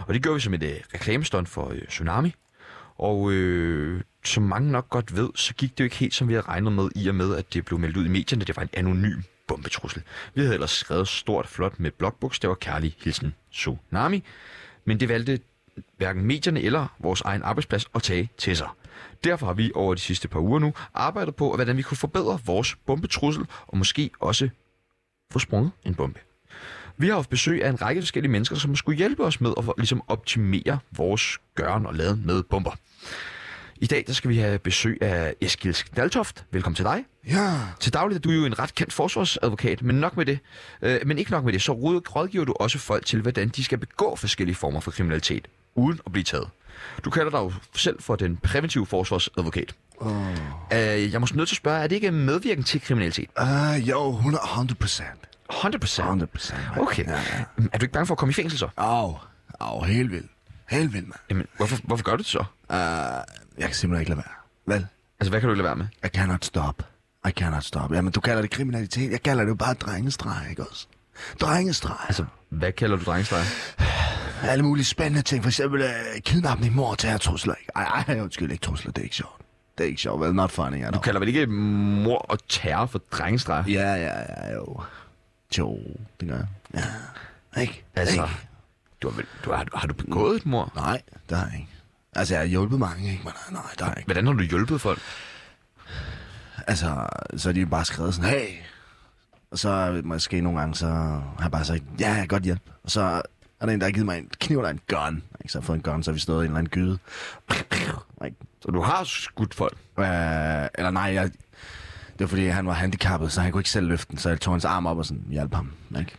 [SPEAKER 1] Og det gjorde vi som et øh, reklamestånd for øh, Tsunami. Og øh, som mange nok godt ved, så gik det jo ikke helt, som vi havde regnet med, i og med, at det blev meldt ud i medierne, at det var en anonym bombetrussel. Vi havde ellers skrevet stort flot med blokbogstaver kærlig hilsen Tsunami, men det valgte hverken medierne eller vores egen arbejdsplads at tage til sig. Derfor har vi over de sidste par uger nu arbejdet på, hvordan vi kunne forbedre vores bombetrussel, og måske også få sprunget en bombe. Vi har haft besøg af en række forskellige mennesker, som skulle hjælpe os med at ligesom optimere vores gøren og laden med bomber. I dag der skal vi have besøg af Eskil Daltoft. Velkommen til dig.
[SPEAKER 2] Ja.
[SPEAKER 1] Til daglig er du jo en ret kendt forsvarsadvokat, men nok med det. Øh, men ikke nok med det, så råd- rådgiver du også folk til, hvordan de skal begå forskellige former for kriminalitet, uden at blive taget. Du kalder dig jo selv for den præventive forsvarsadvokat. Oh. Øh, jeg må nødt til at spørge, er det ikke medvirken til kriminalitet?
[SPEAKER 2] Uh, jo, 100 procent.
[SPEAKER 1] 100 procent.
[SPEAKER 2] 100 procent.
[SPEAKER 1] Okay. Er du ikke bange for at komme i fængsel så?
[SPEAKER 2] Au, au, helt vildt. Helt vildt, mand.
[SPEAKER 1] Jamen, hvorfor, hvorfor gør du det så?
[SPEAKER 2] Uh, jeg kan simpelthen ikke lade være. Vel?
[SPEAKER 1] Altså, hvad kan du ikke lade være med?
[SPEAKER 2] I cannot stop. I cannot stop. Jamen, du kalder det kriminalitet. Jeg kalder det jo bare drengestreg, ikke også? Drengestreg. Altså,
[SPEAKER 1] Altså, hvad kalder du drengestreger?
[SPEAKER 2] alle mulige spændende ting. For eksempel uh, kidnapning, mor og terrortrusler, ikke? Ej, ej, undskyld, ikke trusler. Det er ikke sjovt. Det er ikke sjovt, vel? Not funny at
[SPEAKER 1] Du
[SPEAKER 2] all.
[SPEAKER 1] kalder vel ikke mor og terror for drengestreger?
[SPEAKER 2] Ja, ja, ja, jo. Jo, det gør jeg. Ja. Ikke?
[SPEAKER 1] Altså,
[SPEAKER 2] Ikke?
[SPEAKER 1] du har, vel, du har, har du begået et mor?
[SPEAKER 2] Nej, der er ikke. Altså, jeg har hjulpet mange, ikke? Men nej, nej, der er ikke.
[SPEAKER 1] Hvordan har du hjulpet folk?
[SPEAKER 2] Altså, så er de bare skrevet sådan, hey! Og så måske nogle gange, så har jeg bare sagt, ja, jeg kan godt hjælp. Og så er der en, der har givet mig en kniv eller en gun. Ikke? Så har jeg fået en gun, så har vi stået i en eller anden gyde. Ikke?
[SPEAKER 1] Så du har skudt folk?
[SPEAKER 2] Øh, eller nej, jeg, det var fordi, han var handicappet, så han kunne ikke selv løfte den, så jeg tog hans arm op og sådan hjalp ham. Ikke?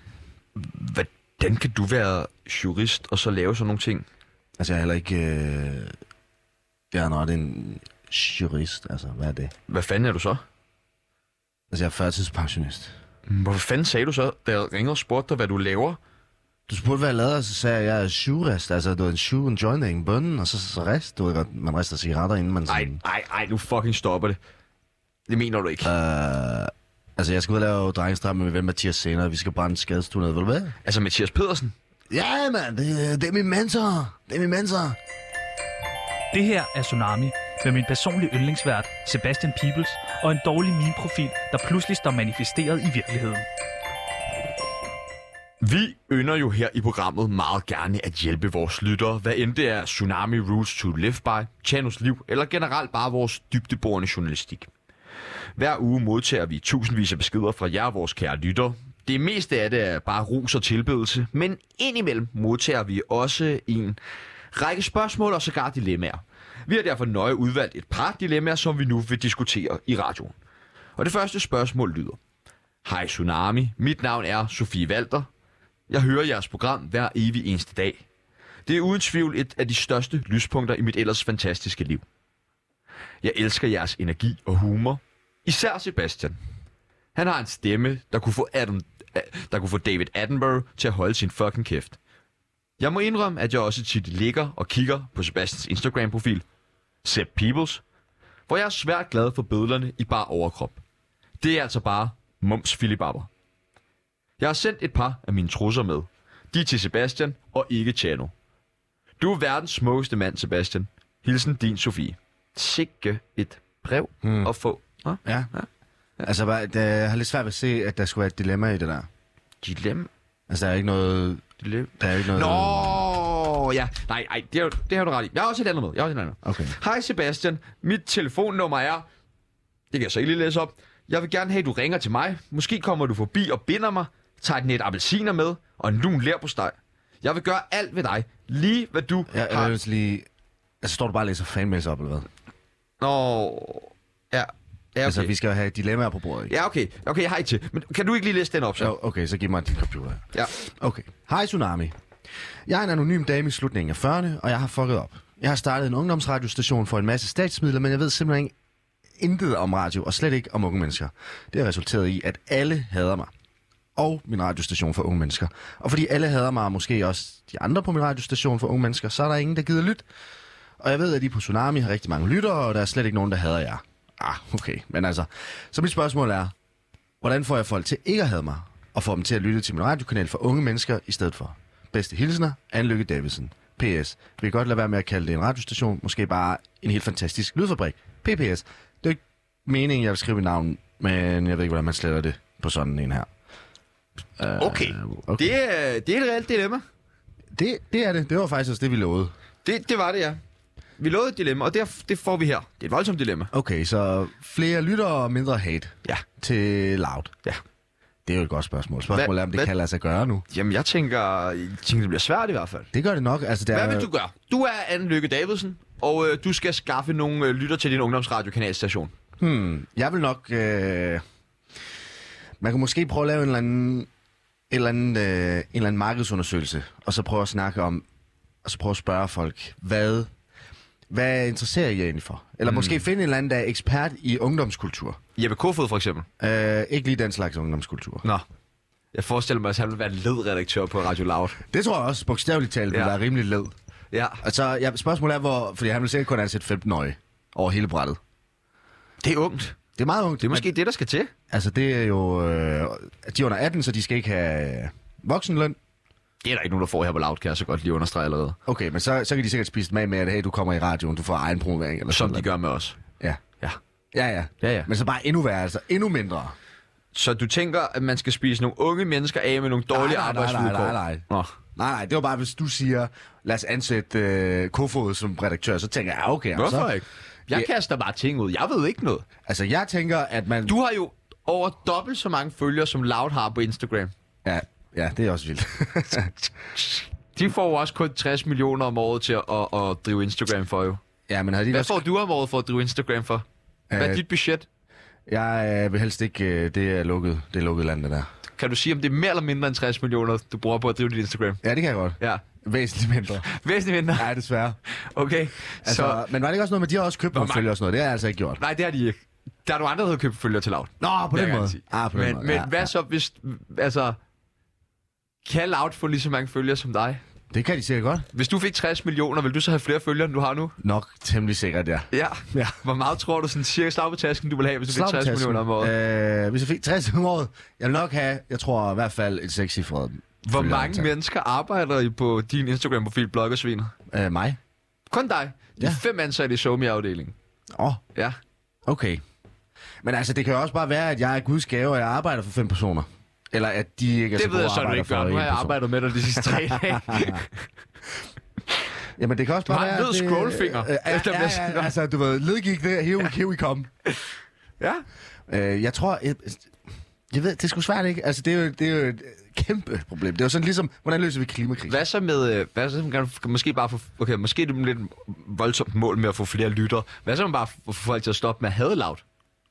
[SPEAKER 1] Hvordan kan du være jurist og så lave sådan nogle ting?
[SPEAKER 2] Altså, jeg er heller ikke... Øh, jeg er nok en jurist, altså, hvad er det?
[SPEAKER 1] Hvad fanden er du så?
[SPEAKER 2] Altså, jeg er førtidspensionist.
[SPEAKER 1] Hvorfor fanden sagde du så, da jeg ringede og spurgte dig, hvad du laver?
[SPEAKER 2] Du spurgte, hvad jeg lavede, og så sagde jeg, jeg er shoe-rest. Altså, du er en shoe, en joint, en bønne, og så, så rest. Du ved godt, man rister cigaretter, inden man
[SPEAKER 1] Nej,
[SPEAKER 2] sådan...
[SPEAKER 1] nej, nej, nu fucking stopper det. Det mener du ikke.
[SPEAKER 2] Øh, altså, jeg skal ud og lave drengestram med ven Mathias senere. Vi skal brænde skadestuen ned, vil du med?
[SPEAKER 1] Altså Mathias Pedersen?
[SPEAKER 2] Ja, mand, det, det er min mentor. Det er min mentor.
[SPEAKER 3] Det her er Tsunami med min personlige yndlingsvært, Sebastian Peebles, og en dårlig meme-profil, der pludselig står manifesteret i virkeligheden.
[SPEAKER 1] Vi ynder jo her i programmet meget gerne at hjælpe vores lyttere, hvad end det er Tsunami Rules to Live By, Chanos Liv eller generelt bare vores dybdeborende journalistik. Hver uge modtager vi tusindvis af beskeder fra jer, vores kære lyttere. Det meste af det er bare ros og tilbedelse, men indimellem modtager vi også en række spørgsmål og sågar dilemmaer. Vi har derfor nøje udvalgt et par dilemmaer, som vi nu vil diskutere i radioen. Og det første spørgsmål lyder. Hej Tsunami, mit navn er Sofie Walter. Jeg hører jeres program hver evig eneste dag. Det er uden tvivl et af de største lyspunkter i mit ellers fantastiske liv. Jeg elsker jeres energi og humor. Især Sebastian. Han har en stemme, der kunne få, Adam, der kunne få David Attenborough til at holde sin fucking kæft. Jeg må indrømme, at jeg også tit ligger og kigger på Sebastians Instagram-profil, Seb Peoples, hvor jeg er svært glad for bødlerne i bar overkrop. Det er altså bare mums filibabber. Jeg har sendt et par af mine trusser med. De er til Sebastian og ikke Chano. Du er verdens smukkeste mand, Sebastian. Hilsen din Sofie. Sikke et brev hmm. at få. Hå?
[SPEAKER 2] Ja. Altså, hvad- det, jeg har lidt svært ved at se, at der skulle være et dilemma i det der.
[SPEAKER 1] Dilemma.
[SPEAKER 2] Altså, der er ikke noget...
[SPEAKER 1] Dilemma.
[SPEAKER 2] Der er ikke noget...
[SPEAKER 1] Nå, ja. Nej, nej, det har, du- det har du ret i. Jeg har også et andet med. Jeg har også et andet med.
[SPEAKER 2] Okay.
[SPEAKER 1] Hej Sebastian, mit telefonnummer er... Det kan jeg så ikke lige læse op. Jeg vil gerne have, at du ringer til mig. Måske kommer du forbi og binder mig, tager et net appelsiner med og en lun lær på steg. Jeg vil gøre alt ved dig. Lige hvad du
[SPEAKER 2] Jeg,
[SPEAKER 1] har...
[SPEAKER 2] jeg vil lige... Altså, står du bare og læser fanmails op, eller hvad? Okay.
[SPEAKER 1] Nå... Ja, ja okay.
[SPEAKER 2] Altså, vi skal jo have dilemmaer på bordet, ikke?
[SPEAKER 1] Ja, okay. Okay, jeg har ikke til. Men kan du ikke lige læse den op, så?
[SPEAKER 2] Jo, okay, så giv mig din computer.
[SPEAKER 1] Ja.
[SPEAKER 2] Okay. Hej Tsunami. Jeg er en anonym dame i slutningen af 40'erne, og jeg har fucket op. Jeg har startet en ungdomsradiostation for en masse statsmidler, men jeg ved simpelthen ikke intet om radio, og slet ikke om unge mennesker. Det har resulteret i, at alle hader mig. Og min radiostation for unge mennesker. Og fordi alle hader mig, og måske også de andre på min radiostation for unge mennesker, så er der ingen, der gider lytte. Og jeg ved, at I på Tsunami har rigtig mange lyttere, og der er slet ikke nogen, der hader jer. Ah, okay. Men altså, så mit spørgsmål er, Hvordan får jeg folk til ikke at have mig, og får dem til at lytte til min radiokanal for unge mennesker i stedet for? Bedste hilsner, Anne Lykke Davidsen. P.S. Vi kan godt lade være med at kalde det en radiostation, måske bare en helt fantastisk lydfabrik. P.P.S. Det er ikke meningen, jeg vil skrive mit navn, men jeg ved ikke, hvordan man sletter det på sådan en her.
[SPEAKER 1] Okay.
[SPEAKER 2] okay.
[SPEAKER 1] Det, er- det er et reelt dilemma.
[SPEAKER 2] Det, det er det. Det var faktisk også det, vi lovede.
[SPEAKER 1] Det, det var det, ja. Vi lovede et dilemma, og det, det får vi her. Det er et voldsomt dilemma.
[SPEAKER 2] Okay, så flere lytter og mindre hate
[SPEAKER 1] Ja.
[SPEAKER 2] til Loud.
[SPEAKER 1] Ja.
[SPEAKER 2] Det er jo et godt spørgsmål. Spørgsmålet er, om det
[SPEAKER 1] hvad-
[SPEAKER 2] kan lade sig gøre nu.
[SPEAKER 1] Jamen, jeg tænker, jeg tænker, det bliver svært i hvert fald.
[SPEAKER 2] Det gør det nok. Altså, det er,
[SPEAKER 1] Hvad vil du gøre? Du er Anne Lykke Davidsen, og øh, du skal skaffe nogle øh, lytter til din ungdomsradiokanalstation.
[SPEAKER 2] Hmm, jeg vil nok... Øh, man kan måske prøve at lave en eller anden, en eller anden, øh, en eller anden markedsundersøgelse, og så prøve at snakke om, og så prøve at spørge folk, hvad, hvad interesserer I jer egentlig for?
[SPEAKER 1] Hmm.
[SPEAKER 2] Eller mm. måske finde en eller anden, der er ekspert i ungdomskultur.
[SPEAKER 1] Jeppe Kofod for eksempel.
[SPEAKER 2] Øh, ikke lige den slags ungdomskultur.
[SPEAKER 1] Nå. Jeg forestiller mig, at han vil være ledredaktør på Radio Loud.
[SPEAKER 2] Det tror jeg også, bogstaveligt talt, ja.
[SPEAKER 1] Ja.
[SPEAKER 2] vil være rimelig led.
[SPEAKER 1] Ja.
[SPEAKER 2] Altså, ja, spørgsmålet er, hvor, fordi han vil sikkert kun ansætte 15-årige over hele brættet.
[SPEAKER 1] Det er ungt.
[SPEAKER 2] Det er meget ungt.
[SPEAKER 1] Det er måske det, der skal til.
[SPEAKER 2] Altså, det er jo... Øh, de er under 18, så de skal ikke have øh, voksenløn.
[SPEAKER 1] Det er der ikke nogen, der får her på Loud, kan jeg så godt lige understrege allerede.
[SPEAKER 2] Okay, men så, så kan de sikkert spise dem af med, at hey, du kommer i radioen, du får egen promovering. Eller
[SPEAKER 1] Som de
[SPEAKER 2] sådan
[SPEAKER 1] gør med os.
[SPEAKER 2] noget. Ja.
[SPEAKER 1] Ja.
[SPEAKER 2] Ja, ja.
[SPEAKER 1] Ja, ja.
[SPEAKER 2] Men så bare endnu værre, altså endnu mindre.
[SPEAKER 1] Så du tænker, at man skal spise nogle unge mennesker af med nogle dårlige
[SPEAKER 2] Nej, nej, nej, nej,
[SPEAKER 1] arbejdsvilkår?
[SPEAKER 2] nej, nej.
[SPEAKER 1] Nå.
[SPEAKER 2] Nej, nej, det var bare, hvis du siger, lad os ansætte øh, Kofod som redaktør, så tænker jeg, ja, okay.
[SPEAKER 1] Hvorfor
[SPEAKER 2] så,
[SPEAKER 1] ikke? Jeg
[SPEAKER 2] Ja.
[SPEAKER 1] kaster bare ting ud. Jeg ved ikke noget.
[SPEAKER 2] Altså, jeg tænker, at man...
[SPEAKER 1] Du har jo over dobbelt så mange følgere, som Loud har på Instagram.
[SPEAKER 2] Ja, ja, det er også
[SPEAKER 1] (laughs)
[SPEAKER 2] vildt.
[SPEAKER 1] De får jo også kun 60 millioner om året til at, at, at drive Instagram for jo.
[SPEAKER 2] ja, men havde de
[SPEAKER 1] Hvad
[SPEAKER 2] ellers...
[SPEAKER 1] får du om året for at drive Instagram for? Hvad er
[SPEAKER 2] Øh.
[SPEAKER 1] dit budget?
[SPEAKER 2] Jeg øh, vil helst ikke... Øh, det er lukket. Det er lukket land, det der.
[SPEAKER 1] Kan du sige, om det er mere eller mindre end 60 millioner, du bruger på at drive dit Instagram?
[SPEAKER 2] Ja, det kan jeg godt.
[SPEAKER 1] Ja,
[SPEAKER 2] Væsentligt
[SPEAKER 1] (laughs)
[SPEAKER 2] mindre.
[SPEAKER 1] væsentligt mindre.
[SPEAKER 2] Nej, desværre.
[SPEAKER 1] Okay,
[SPEAKER 2] Altså,
[SPEAKER 1] så...
[SPEAKER 2] Men var det ikke også noget med, at de har også købt nogle
[SPEAKER 1] mange-
[SPEAKER 2] følgere og sådan noget? Det har jeg altså ikke gjort.
[SPEAKER 1] Nej, det har de ikke. Der er nogle andre, der har købt følgere til Loud.
[SPEAKER 2] Nå, på
[SPEAKER 1] vil jeg
[SPEAKER 2] den
[SPEAKER 1] gerne
[SPEAKER 2] måde.
[SPEAKER 1] sige.
[SPEAKER 2] Ah, på den
[SPEAKER 1] men
[SPEAKER 2] måde.
[SPEAKER 1] men
[SPEAKER 2] ja,
[SPEAKER 1] hvad så, hvis... Altså... Kan Loud få lige så mange følgere som dig?
[SPEAKER 2] Det kan de sikkert godt.
[SPEAKER 1] Hvis du fik 60 millioner, vil du så have flere følgere, end du har nu?
[SPEAKER 2] Nok temmelig sikkert, ja.
[SPEAKER 1] Ja.
[SPEAKER 2] Ja.
[SPEAKER 1] Hvor meget tror du sådan cirka slag på tasken, du vil have, hvis du fik 60
[SPEAKER 2] Slagtasken.
[SPEAKER 1] millioner om året?
[SPEAKER 2] Øh, hvis jeg fik 60 om året, jeg vil nok have, jeg tror i hvert fald et sekscifret
[SPEAKER 1] Hvor
[SPEAKER 2] Følger
[SPEAKER 1] mange
[SPEAKER 2] antal.
[SPEAKER 1] mennesker arbejder I på din Instagram-profil, Bloggersviner?
[SPEAKER 2] Øh, mig?
[SPEAKER 1] Kun dig. De
[SPEAKER 2] Ja.
[SPEAKER 1] fem ansatte i SoMe-afdelingen.
[SPEAKER 2] Åh, oh,
[SPEAKER 1] Ja.
[SPEAKER 2] okay. Men altså, det kan jo også bare være, at jeg er guds gave, og jeg arbejder for fem personer. Eller at de ikke er så
[SPEAKER 1] Det ved
[SPEAKER 2] gode
[SPEAKER 1] jeg så, du
[SPEAKER 2] arbejder
[SPEAKER 1] ikke
[SPEAKER 2] for
[SPEAKER 1] gør. Nu
[SPEAKER 2] en
[SPEAKER 1] har jeg
[SPEAKER 2] person.
[SPEAKER 1] arbejdet med dig de sidste tre
[SPEAKER 2] (laughs)
[SPEAKER 1] dage.
[SPEAKER 2] Jamen, det kan også
[SPEAKER 1] Du
[SPEAKER 2] bare
[SPEAKER 1] har en
[SPEAKER 2] være...
[SPEAKER 1] hvid
[SPEAKER 2] at det-
[SPEAKER 1] scrollfinger.
[SPEAKER 2] Øh, ja,
[SPEAKER 1] Efter
[SPEAKER 2] ja,
[SPEAKER 1] Messenger.
[SPEAKER 2] ja, altså, du ved, ledgik det, here we, here we come.
[SPEAKER 1] ja.
[SPEAKER 2] Øh, jeg tror... Jeg, jeg ved, det er sgu svært, ikke? Altså, det er jo, det er jo et kæmpe problem. Det er jo sådan ligesom, hvordan løser vi klimakrisen?
[SPEAKER 1] Hvad så med... øh, Hvad så, kan du- måske bare få, okay, måske er det lidt voldsomt mål med at få flere lytter. Hvad så med bare få folk til at stoppe med at hade loud?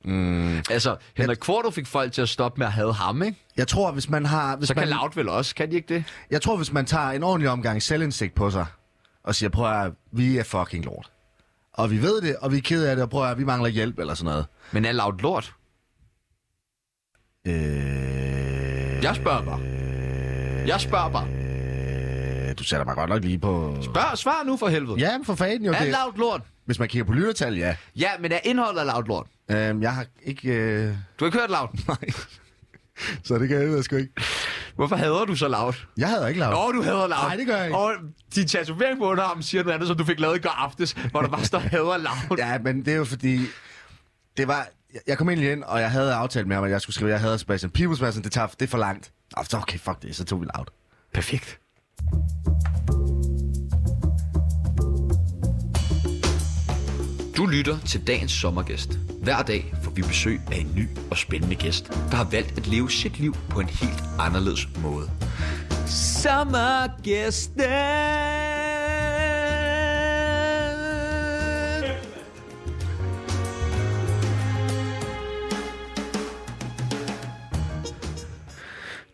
[SPEAKER 1] Mm. Altså, Henrik Kvarto fik folk til at stoppe med at hade ham, ikke?
[SPEAKER 2] Jeg tror, hvis man har... Hvis
[SPEAKER 1] Så kan
[SPEAKER 2] man,
[SPEAKER 1] Loud vel også, kan de ikke det?
[SPEAKER 2] Jeg tror, hvis man tager en ordentlig omgang selvindsigt på sig, og siger, prøv at høre, vi er fucking lort. Og vi ved det, og vi er ked af det, og prøv at høre, vi mangler hjælp eller sådan noget.
[SPEAKER 1] Men er Loud lort?
[SPEAKER 2] Øh,
[SPEAKER 1] Jeg spørger bare. Jeg spørger bare.
[SPEAKER 2] øh, du sætter mig godt nok lige på...
[SPEAKER 1] Spørg, svar nu for helvede.
[SPEAKER 2] Ja, men for fanden jo
[SPEAKER 1] Er
[SPEAKER 2] det.
[SPEAKER 1] Loud lort?
[SPEAKER 2] Hvis man kigger på lyttertal, ja.
[SPEAKER 1] Ja, men er indholdet af Loud lort?
[SPEAKER 2] Øhm, jeg har ikke... Øh... (laughs)
[SPEAKER 1] Du har ikke hørt Loud.
[SPEAKER 2] Nej. Så det kan jeg, jeg sgu ikke.
[SPEAKER 1] Hvorfor hader du så Loud?
[SPEAKER 2] Jeg havde ikke lavet.
[SPEAKER 1] Åh, oh, du hader Loud.
[SPEAKER 2] Nej, det gør jeg ikke.
[SPEAKER 1] Og din tatovering på underarmen siger noget andet, som du fik lavet i går aftes, hvor der bare står hader Loud.
[SPEAKER 2] Ja, men det er jo fordi... Det var... jeg- Jeg kom egentlig ind, og jeg havde aftalt med ham, at jeg skulle skrive, at jeg havde Sebastian Peoples, men jeg var sådan, det, tager, det er for langt. Og så, okay, fuck det, så tog vi loud.
[SPEAKER 1] Perfekt.
[SPEAKER 7] Du lytter til dagens sommergæst. Hver dag får vi besøg af en ny og spændende gæst, der har valgt at leve sit liv på en helt anderledes måde. Sommergæsten!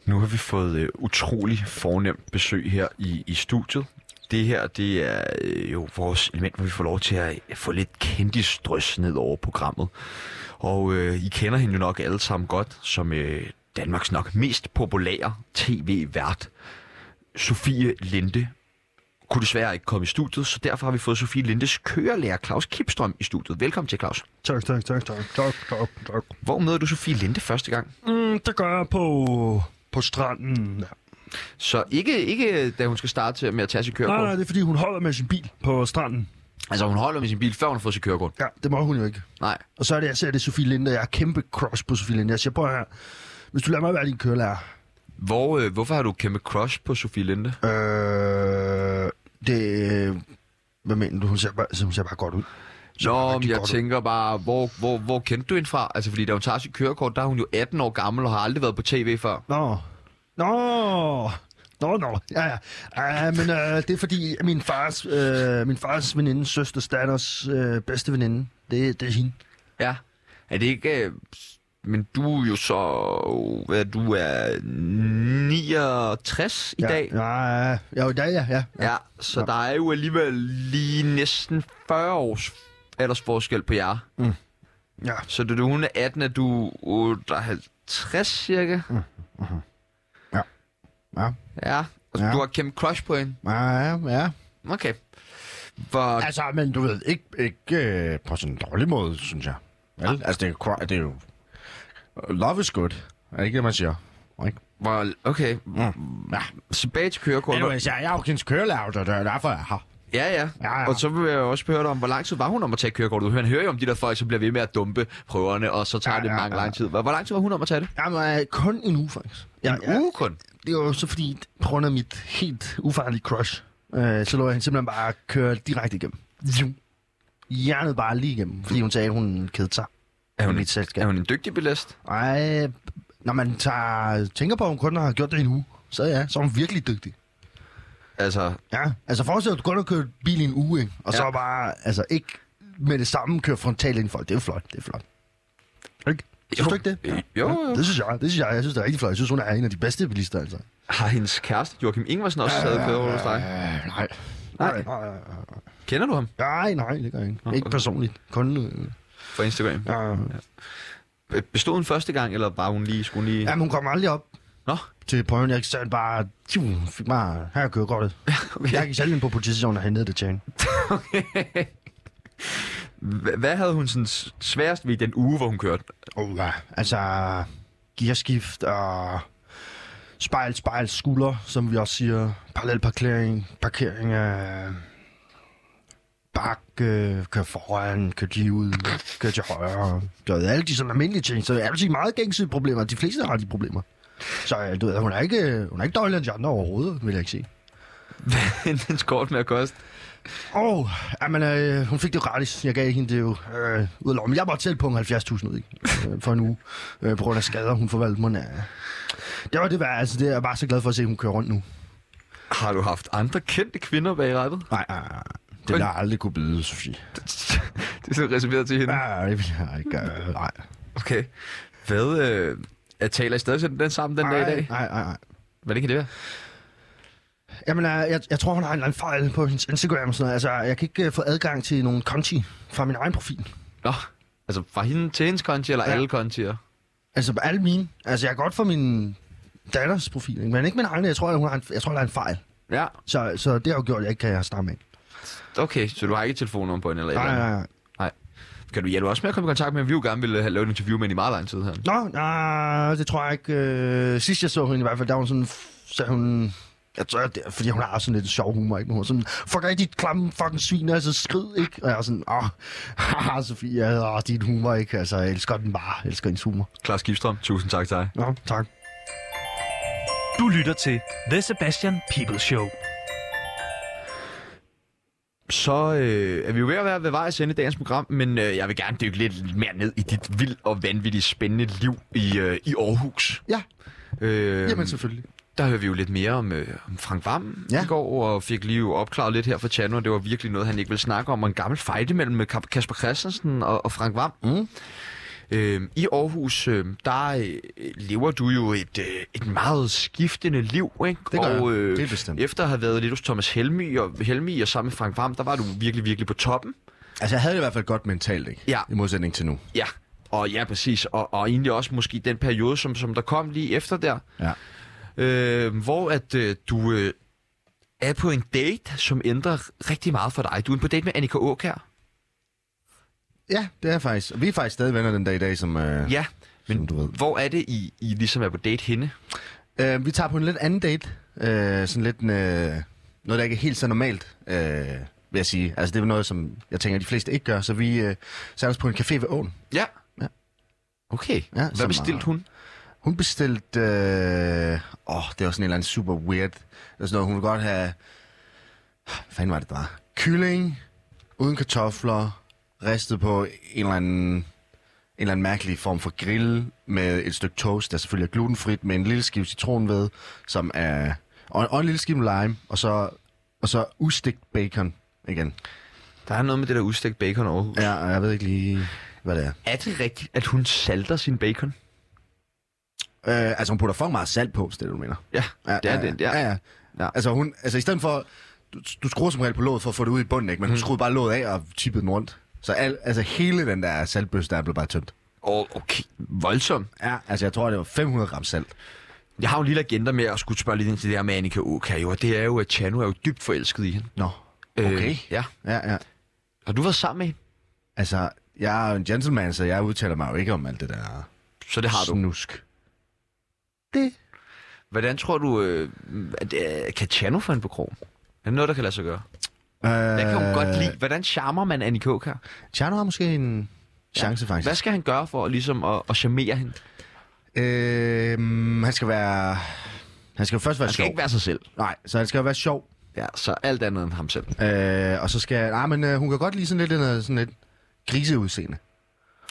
[SPEAKER 1] Nu har vi fået øh, utrolig fornemt besøg her i, i studiet. Det her, det er øh, jo vores element, hvor vi får lov til at øh, få lidt kendisdrys ned over programmet. Og øh, I kender hende jo nok alle sammen godt som øh, Danmarks nok mest populære tv-vært, Sofie Linde kunne desværre ikke komme i studiet, så derfor har vi fået Sofie Lindes kørelærer Claus Kipstrøm i studiet. Velkommen til, Claus.
[SPEAKER 13] Tak, tak, tak, tak, tak, tak, tak.
[SPEAKER 1] Hvor møder du Sofie Linde første gang?
[SPEAKER 13] Mm, det gør jeg på, på stranden. Ja.
[SPEAKER 1] Så ikke, ikke da hun skal starte til- med at tage sit kørekort.
[SPEAKER 13] Nej, nej, det er fordi, hun holder med sin bil på stranden.
[SPEAKER 1] Altså, hun holder med sin bil, før hun har fået sit kørekort.
[SPEAKER 13] Ja, det må hun jo ikke.
[SPEAKER 1] Nej.
[SPEAKER 13] Og så er det, jeg ser det er Sofie Linde, og jeg er kæmpe cross på Sofie Linde. Jeg siger, prøv her, hvis du lader mig være din kørelærer,
[SPEAKER 1] Hvor, øh, hvorfor har du kæmpe crush på Sofie Linde?
[SPEAKER 13] øh, det, øh, hvad mener du, hun ser bare, hun ser bare godt ud. Hun ser bare
[SPEAKER 1] Nå, men
[SPEAKER 13] rigtig
[SPEAKER 1] jeg
[SPEAKER 13] godt ud.
[SPEAKER 1] tænker bare, hvor, hvor, hvor kendte du hende fra? Altså, fordi da hun tager sit kørekort, der er hun jo 18 år gammel og har aldrig været på tv før.
[SPEAKER 13] Nå. Nå. Nå, nå. Ja, ja. ja men øh, det er fordi, min fars, øh, min fars veninde, søsters datters øh, bedste veninde, det, det er hende.
[SPEAKER 1] Ja. Er det ikke... Øh, men du er jo så... Hvad, du er 69 i
[SPEAKER 13] ja,
[SPEAKER 1] dag.
[SPEAKER 13] Ja, ja, ja, i dag, ja, ja. ja.
[SPEAKER 1] Ja, så der er jo alligevel lige næsten 40 års aldersforskel på jer.
[SPEAKER 13] ja.
[SPEAKER 1] Så da du, hun er 18, er du 58 cirka?
[SPEAKER 13] Ja. Ja.
[SPEAKER 1] Ja, og
[SPEAKER 13] Ja.
[SPEAKER 1] du har kæmpe crush på hende?
[SPEAKER 13] Ja, ja.
[SPEAKER 1] Okay. Hvor,
[SPEAKER 2] Altså, men du ved, ikke, ikke øh, på sådan en dårlig måde, synes jeg. Vel? Altså, det er, jo cry- det er jo... Love is good. Er det ikke det, man siger? Ikke?
[SPEAKER 1] hvor, okay. Ja. Tilbage til kørekortet.
[SPEAKER 2] Anyways, jeg, jeg er jo hendes kørelærer, og det er derfor, jeg er her.
[SPEAKER 1] Ja, ja,
[SPEAKER 2] Ja, ja.
[SPEAKER 1] Og så vil jeg også høre dig om, hvor lang tid var hun om at tage kørekortet? Man hører jo om de der folk, som bliver ved med at dumpe prøverne, og så tager ja, det
[SPEAKER 13] ja,
[SPEAKER 1] mange
[SPEAKER 13] ja.
[SPEAKER 1] lang tid. Hvor, hvor lang tid var hun om at tage det?
[SPEAKER 13] Jamen, øh, kun en uge, faktisk. Ja,
[SPEAKER 1] En
[SPEAKER 13] ja.
[SPEAKER 1] uge kun.
[SPEAKER 13] Det var jo så fordi, på grund af mit helt ufarlige crush, øh, så lå jeg hende simpelthen bare køre direkte igennem. Zoom. Hjernet bare lige igennem, fordi hun sagde, at hun kedede sig.
[SPEAKER 1] Er hun,
[SPEAKER 13] mit selskab.
[SPEAKER 1] er hun en dygtig bilist?
[SPEAKER 13] Ej, når man tager, tænker på, at hun kun har gjort det i en uge, så ja, så er hun virkelig dygtig.
[SPEAKER 1] Altså,
[SPEAKER 13] Ja, altså forestil dig, at du kun har kørt bil i en uge, ikke? og ja.
[SPEAKER 1] Ja.
[SPEAKER 13] så bare, altså ikke med det samme, køre frontalt ind i folk. Det er jo flot, det er flot. Ikke? Synes du ikke det?
[SPEAKER 1] Jo, jo.
[SPEAKER 13] Det synes jeg, det synes jeg. Jeg synes, det er rigtig flot. Jeg synes, hun er en af de bedste bilister, altså.
[SPEAKER 1] har hendes kæreste Joachim Ingvarsen også taget kørekortet hos dig?
[SPEAKER 13] Øh, nej.
[SPEAKER 1] Nej.
[SPEAKER 13] Nej,
[SPEAKER 1] Kender du ham
[SPEAKER 13] nej, nej, det gør jeg ikke. Ikke personligt. Kun... Øh,
[SPEAKER 1] fra Instagram?
[SPEAKER 13] ja.
[SPEAKER 1] Bestod hun første gang, eller var hun lige, skulle hun lige...
[SPEAKER 13] Jamen, hun kom aldrig op
[SPEAKER 1] Nå,
[SPEAKER 13] til prøven. Jeg sagde bare, tju, fik mig, her kører godt.
[SPEAKER 1] okay.
[SPEAKER 13] Jeg gik selv ind på politistationen og hentede det til hende.
[SPEAKER 1] Hva- Hvad havde hun sådan s- sværest ved i (laughs) den uge, hvor hun kørte?
[SPEAKER 13] Oh, ja. Altså, gearskift og Spejl, spejl, skulder, som vi også siger. Parallel parkering, parkering af... Bak, øh, kør foran, kør lige ud, kør til højre. Du ved, alle de sådan almindelige ting, så er det meget gængse problemer. De fleste har de problemer. Så øh, du ved, hun er ikke, hun er ikke dårligere end de andre overhovedet, vil jeg ikke sige.
[SPEAKER 1] Hvad endte hendes kort med at koste?
[SPEAKER 13] Åh, oh, jamen, øh, hun fik det jo gratis. Jeg gav hende det jo øh, ud af lommen. Jeg var tæt på en 70.000 ud, ikke? Øh, for en uge. Øh, på grund af skader, hun forvalgte mig. Det var det værd. Altså, det er jeg bare så glad for at se, at hun kører rundt nu.
[SPEAKER 1] Har du haft andre kendte kvinder bag rettet?
[SPEAKER 13] Nej, nej, nej. Det ville jeg aldrig kunne byde, Sofie.
[SPEAKER 1] (laughs) Det er sådan reserveret til hende.
[SPEAKER 13] Nej, det ville jeg ikke. Øh, nej.
[SPEAKER 1] Okay. Hvad, øh, jeg taler I stadig sådan den sammen den dag i dag?
[SPEAKER 13] Nej, nej, nej.
[SPEAKER 1] Hvordan kan det være?
[SPEAKER 13] Jamen, øh, jeg, jeg tror, hun har en eller anden fejl på hendes Instagram og sådan noget. Altså, jeg kan ikke øh, få adgang til nogen konti fra min egen profil.
[SPEAKER 1] Nå, altså fra hende til hendes konti, eller ja. alle kontier?
[SPEAKER 13] Altså, alle mine. Altså, jeg kan godt få min datters profil, ikke? men ikke min egen. Jeg tror, hun har en, jeg tror, der er en fejl.
[SPEAKER 1] Ja,
[SPEAKER 13] Så, så det har jo gjort, at jeg ikke kan snakke med hende.
[SPEAKER 1] okay, så du har ikke telefonnummer på hende eller et
[SPEAKER 13] Nej,
[SPEAKER 1] eller
[SPEAKER 13] nej,
[SPEAKER 1] andet?
[SPEAKER 13] nej.
[SPEAKER 1] Nej. Kan du hjælpe os med at komme i kontakt med hende? Vi jo gerne ville have lavet et interview med hende i meget lang tid her.
[SPEAKER 13] Nå, nej, det tror jeg ikke. Øh, sidst jeg så hende i hvert fald, der var hun sådan, så hun... Jeg tror, det er, fordi hun har sådan lidt sjov humor, ikke? Men hun er sådan, fuck af dit klamme fucking svin, altså skrid, ikke? Og jeg er sådan, åh, (laughs) haha, Sofie, jeg åh, din humor, ikke? Altså, jeg elsker den bare, jeg elsker hendes humor.
[SPEAKER 1] Klaus Gifstrøm, tusind tak til dig.
[SPEAKER 13] Nå, tak.
[SPEAKER 3] Du lytter til The Sebastian People Show.
[SPEAKER 1] Så øh, er vi jo ved at være ved vej at sende dagens program, men øh, jeg vil gerne dykke lidt mere ned i dit vildt og vanvittigt spændende liv i, øh, i Aarhus.
[SPEAKER 13] Ja,
[SPEAKER 1] Øh,
[SPEAKER 13] jamen selvfølgelig.
[SPEAKER 1] Der hører vi jo lidt mere om, øh, om Frank Vam ja.
[SPEAKER 13] Ja.
[SPEAKER 1] i går, og fik lige jo opklaret lidt her for Tjano, og det var virkelig noget, han ikke ville snakke om, og en gammel fejde mellem øh, Kap- Kasper Christensen og, og Frank Vam. Mm. Øh, I Aarhus, øh, der øh, lever du jo et, øh, et meget skiftende liv, ikke?
[SPEAKER 2] Det gør
[SPEAKER 1] og, øh,
[SPEAKER 2] jeg. Det er bestemt.
[SPEAKER 1] Efter at have været lidt hos Thomas Helmi og, Helmi og sammen med Frank Vam, der var du virkelig, virkelig på toppen.
[SPEAKER 2] Altså, jeg havde det i hvert fald godt mentalt, ikke?
[SPEAKER 1] Ja.
[SPEAKER 2] I modsætning til nu.
[SPEAKER 1] Ja, og ja, præcis. Og, og egentlig også måske den periode, som, som der kom lige efter der.
[SPEAKER 2] Ja.
[SPEAKER 1] Øh, hvor at øh, du øh, er på en date, som ændrer rigtig meget for dig. Du er på date med Annika Åkær.
[SPEAKER 2] Ja, det er jeg faktisk. Og vi er faktisk stadig venner den dag i dag, som, øh,
[SPEAKER 1] Ja,
[SPEAKER 2] som
[SPEAKER 1] men
[SPEAKER 2] du ved.
[SPEAKER 1] hvor er det, I, I ligesom er på date henne?
[SPEAKER 2] Øh, vi tager på en lidt anden date. Øh, sådan lidt en, øh, noget, der ikke er helt så normalt, øh, vil jeg sige. Altså, det er noget, som jeg tænker, de fleste ikke gør. Så vi øh, satte os på en café ved åen.
[SPEAKER 1] Ja.
[SPEAKER 2] Ja.
[SPEAKER 1] Okay.
[SPEAKER 2] Ja,
[SPEAKER 1] Hvad
[SPEAKER 2] som
[SPEAKER 1] bestilte
[SPEAKER 2] er-
[SPEAKER 1] hun?
[SPEAKER 2] Hun bestilte... Øh, åh, det var sådan en eller anden super weird... Det var sådan noget, hun ville godt have... Hvad fanden var det, der var? Kylling, uden kartofler, ristet på en eller anden... En eller anden mærkelig form for grill med et stykke toast, der selvfølgelig er glutenfrit, med en lille skive citronved, som er... Og, og en lille skive lime, og så, og så ustegt bacon igen.
[SPEAKER 1] Der er noget med det der udstegt bacon over.
[SPEAKER 2] Ja, og jeg ved ikke lige, hvad det er.
[SPEAKER 1] Er det rigtigt, at hun salter sin bacon?
[SPEAKER 2] Øh, altså, hun putter for meget salt på, hvis det er det, du mener.
[SPEAKER 1] Ja, det er det. Ja.
[SPEAKER 2] ja, ja.
[SPEAKER 1] Ja.
[SPEAKER 2] ja. Altså, hun, altså, i stedet for... Du, du skruer som regel på låget for at få det ud i bunden, ikke? Men
[SPEAKER 1] Mm.
[SPEAKER 2] hun skruede bare låget af og tippede den rundt. Så al, altså, hele den der saltbøs, der blev bare tømt.
[SPEAKER 1] Og okay, voldsomt.
[SPEAKER 2] Ja. Altså, jeg tror, det var 500 gram salt.
[SPEAKER 1] Jeg har jo en lille agenda med at skulle spørge lidt ind til det her med Annika Åkær, jo, og det er jo, at Chano er jo dybt forelsket i hende.
[SPEAKER 2] Nå. Okay.
[SPEAKER 1] Øh, ja.
[SPEAKER 2] Ja, ja.
[SPEAKER 1] Har du været sammen med hende?
[SPEAKER 2] Altså, jeg er jo en gentleman, så jeg udtaler mig jo ikke om alt det der
[SPEAKER 1] Så det har du.
[SPEAKER 2] snusk.
[SPEAKER 1] Hvordan tror du, øh, at, øh, kan Chano få hende på krogen? Er det noget, der kan lade sig gøre? Hvad kan hun øh... godt lide? Hvordan charmer man Annika Åkær?
[SPEAKER 2] Tjerno har måske en chance, faktisk.
[SPEAKER 1] Hvad skal han gøre for ligesom at, at charmere hende?
[SPEAKER 2] Øh, han skal være... Han skal jo først være
[SPEAKER 1] Han skal
[SPEAKER 2] sjov.
[SPEAKER 1] ikke være sig selv.
[SPEAKER 2] Nej, så han skal jo være sjov.
[SPEAKER 1] Ja, så alt andet end ham selv.
[SPEAKER 2] Øh, og så skal... Nej, men øh, hun kan godt lide sådan lidt, noget, sådan lidt griseudseende.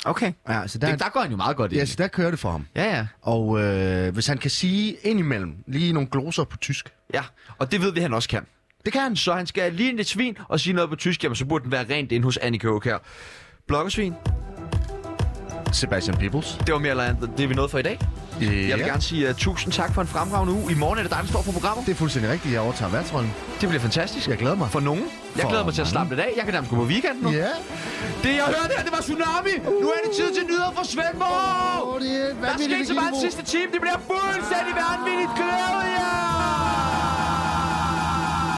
[SPEAKER 1] Okay.
[SPEAKER 2] Ja, så der,
[SPEAKER 1] Der, det, der går han jo meget godt i.
[SPEAKER 2] ja, så der kører det for ham.
[SPEAKER 1] Ja, ja.
[SPEAKER 2] Og øh, hvis han kan sige indimellem lige nogle gloser på tysk.
[SPEAKER 1] Ja, og det ved vi, han også kan.
[SPEAKER 2] Det kan han.
[SPEAKER 1] Så han skal lige ind i et svin og sige noget på tysk, jamen så burde den være rent inde hos Annika Åkær. Blokkersvin,
[SPEAKER 2] Sebastian Peebles.
[SPEAKER 1] det var mere eller andet, det er vi nået for i dag.
[SPEAKER 2] Yeah.
[SPEAKER 1] Jeg vil gerne sige uh, tusind tak for en fremragende uge. I morgen er det dig, der står for programmet.
[SPEAKER 2] Det er fuldstændig rigtigt. Jeg overtager værtsrollen.
[SPEAKER 1] Det bliver fantastisk.
[SPEAKER 2] Jeg glæder mig.
[SPEAKER 1] For nogen. Jeg
[SPEAKER 2] For
[SPEAKER 1] glæder mig til at
[SPEAKER 2] mange.
[SPEAKER 1] slappe lidt af. Jeg kan nærmest gå på weekend nu.
[SPEAKER 2] Ja.
[SPEAKER 1] Det, jeg hørte her, det var Tsunami. Nu er det tid til nyheder fra Svendborg.
[SPEAKER 2] Åh, det er et
[SPEAKER 1] Der
[SPEAKER 2] vanvittigt
[SPEAKER 1] skete så meget den
[SPEAKER 2] vigtigt
[SPEAKER 1] sidste time. Det bliver fuldstændig vanvittigt glæde, ja.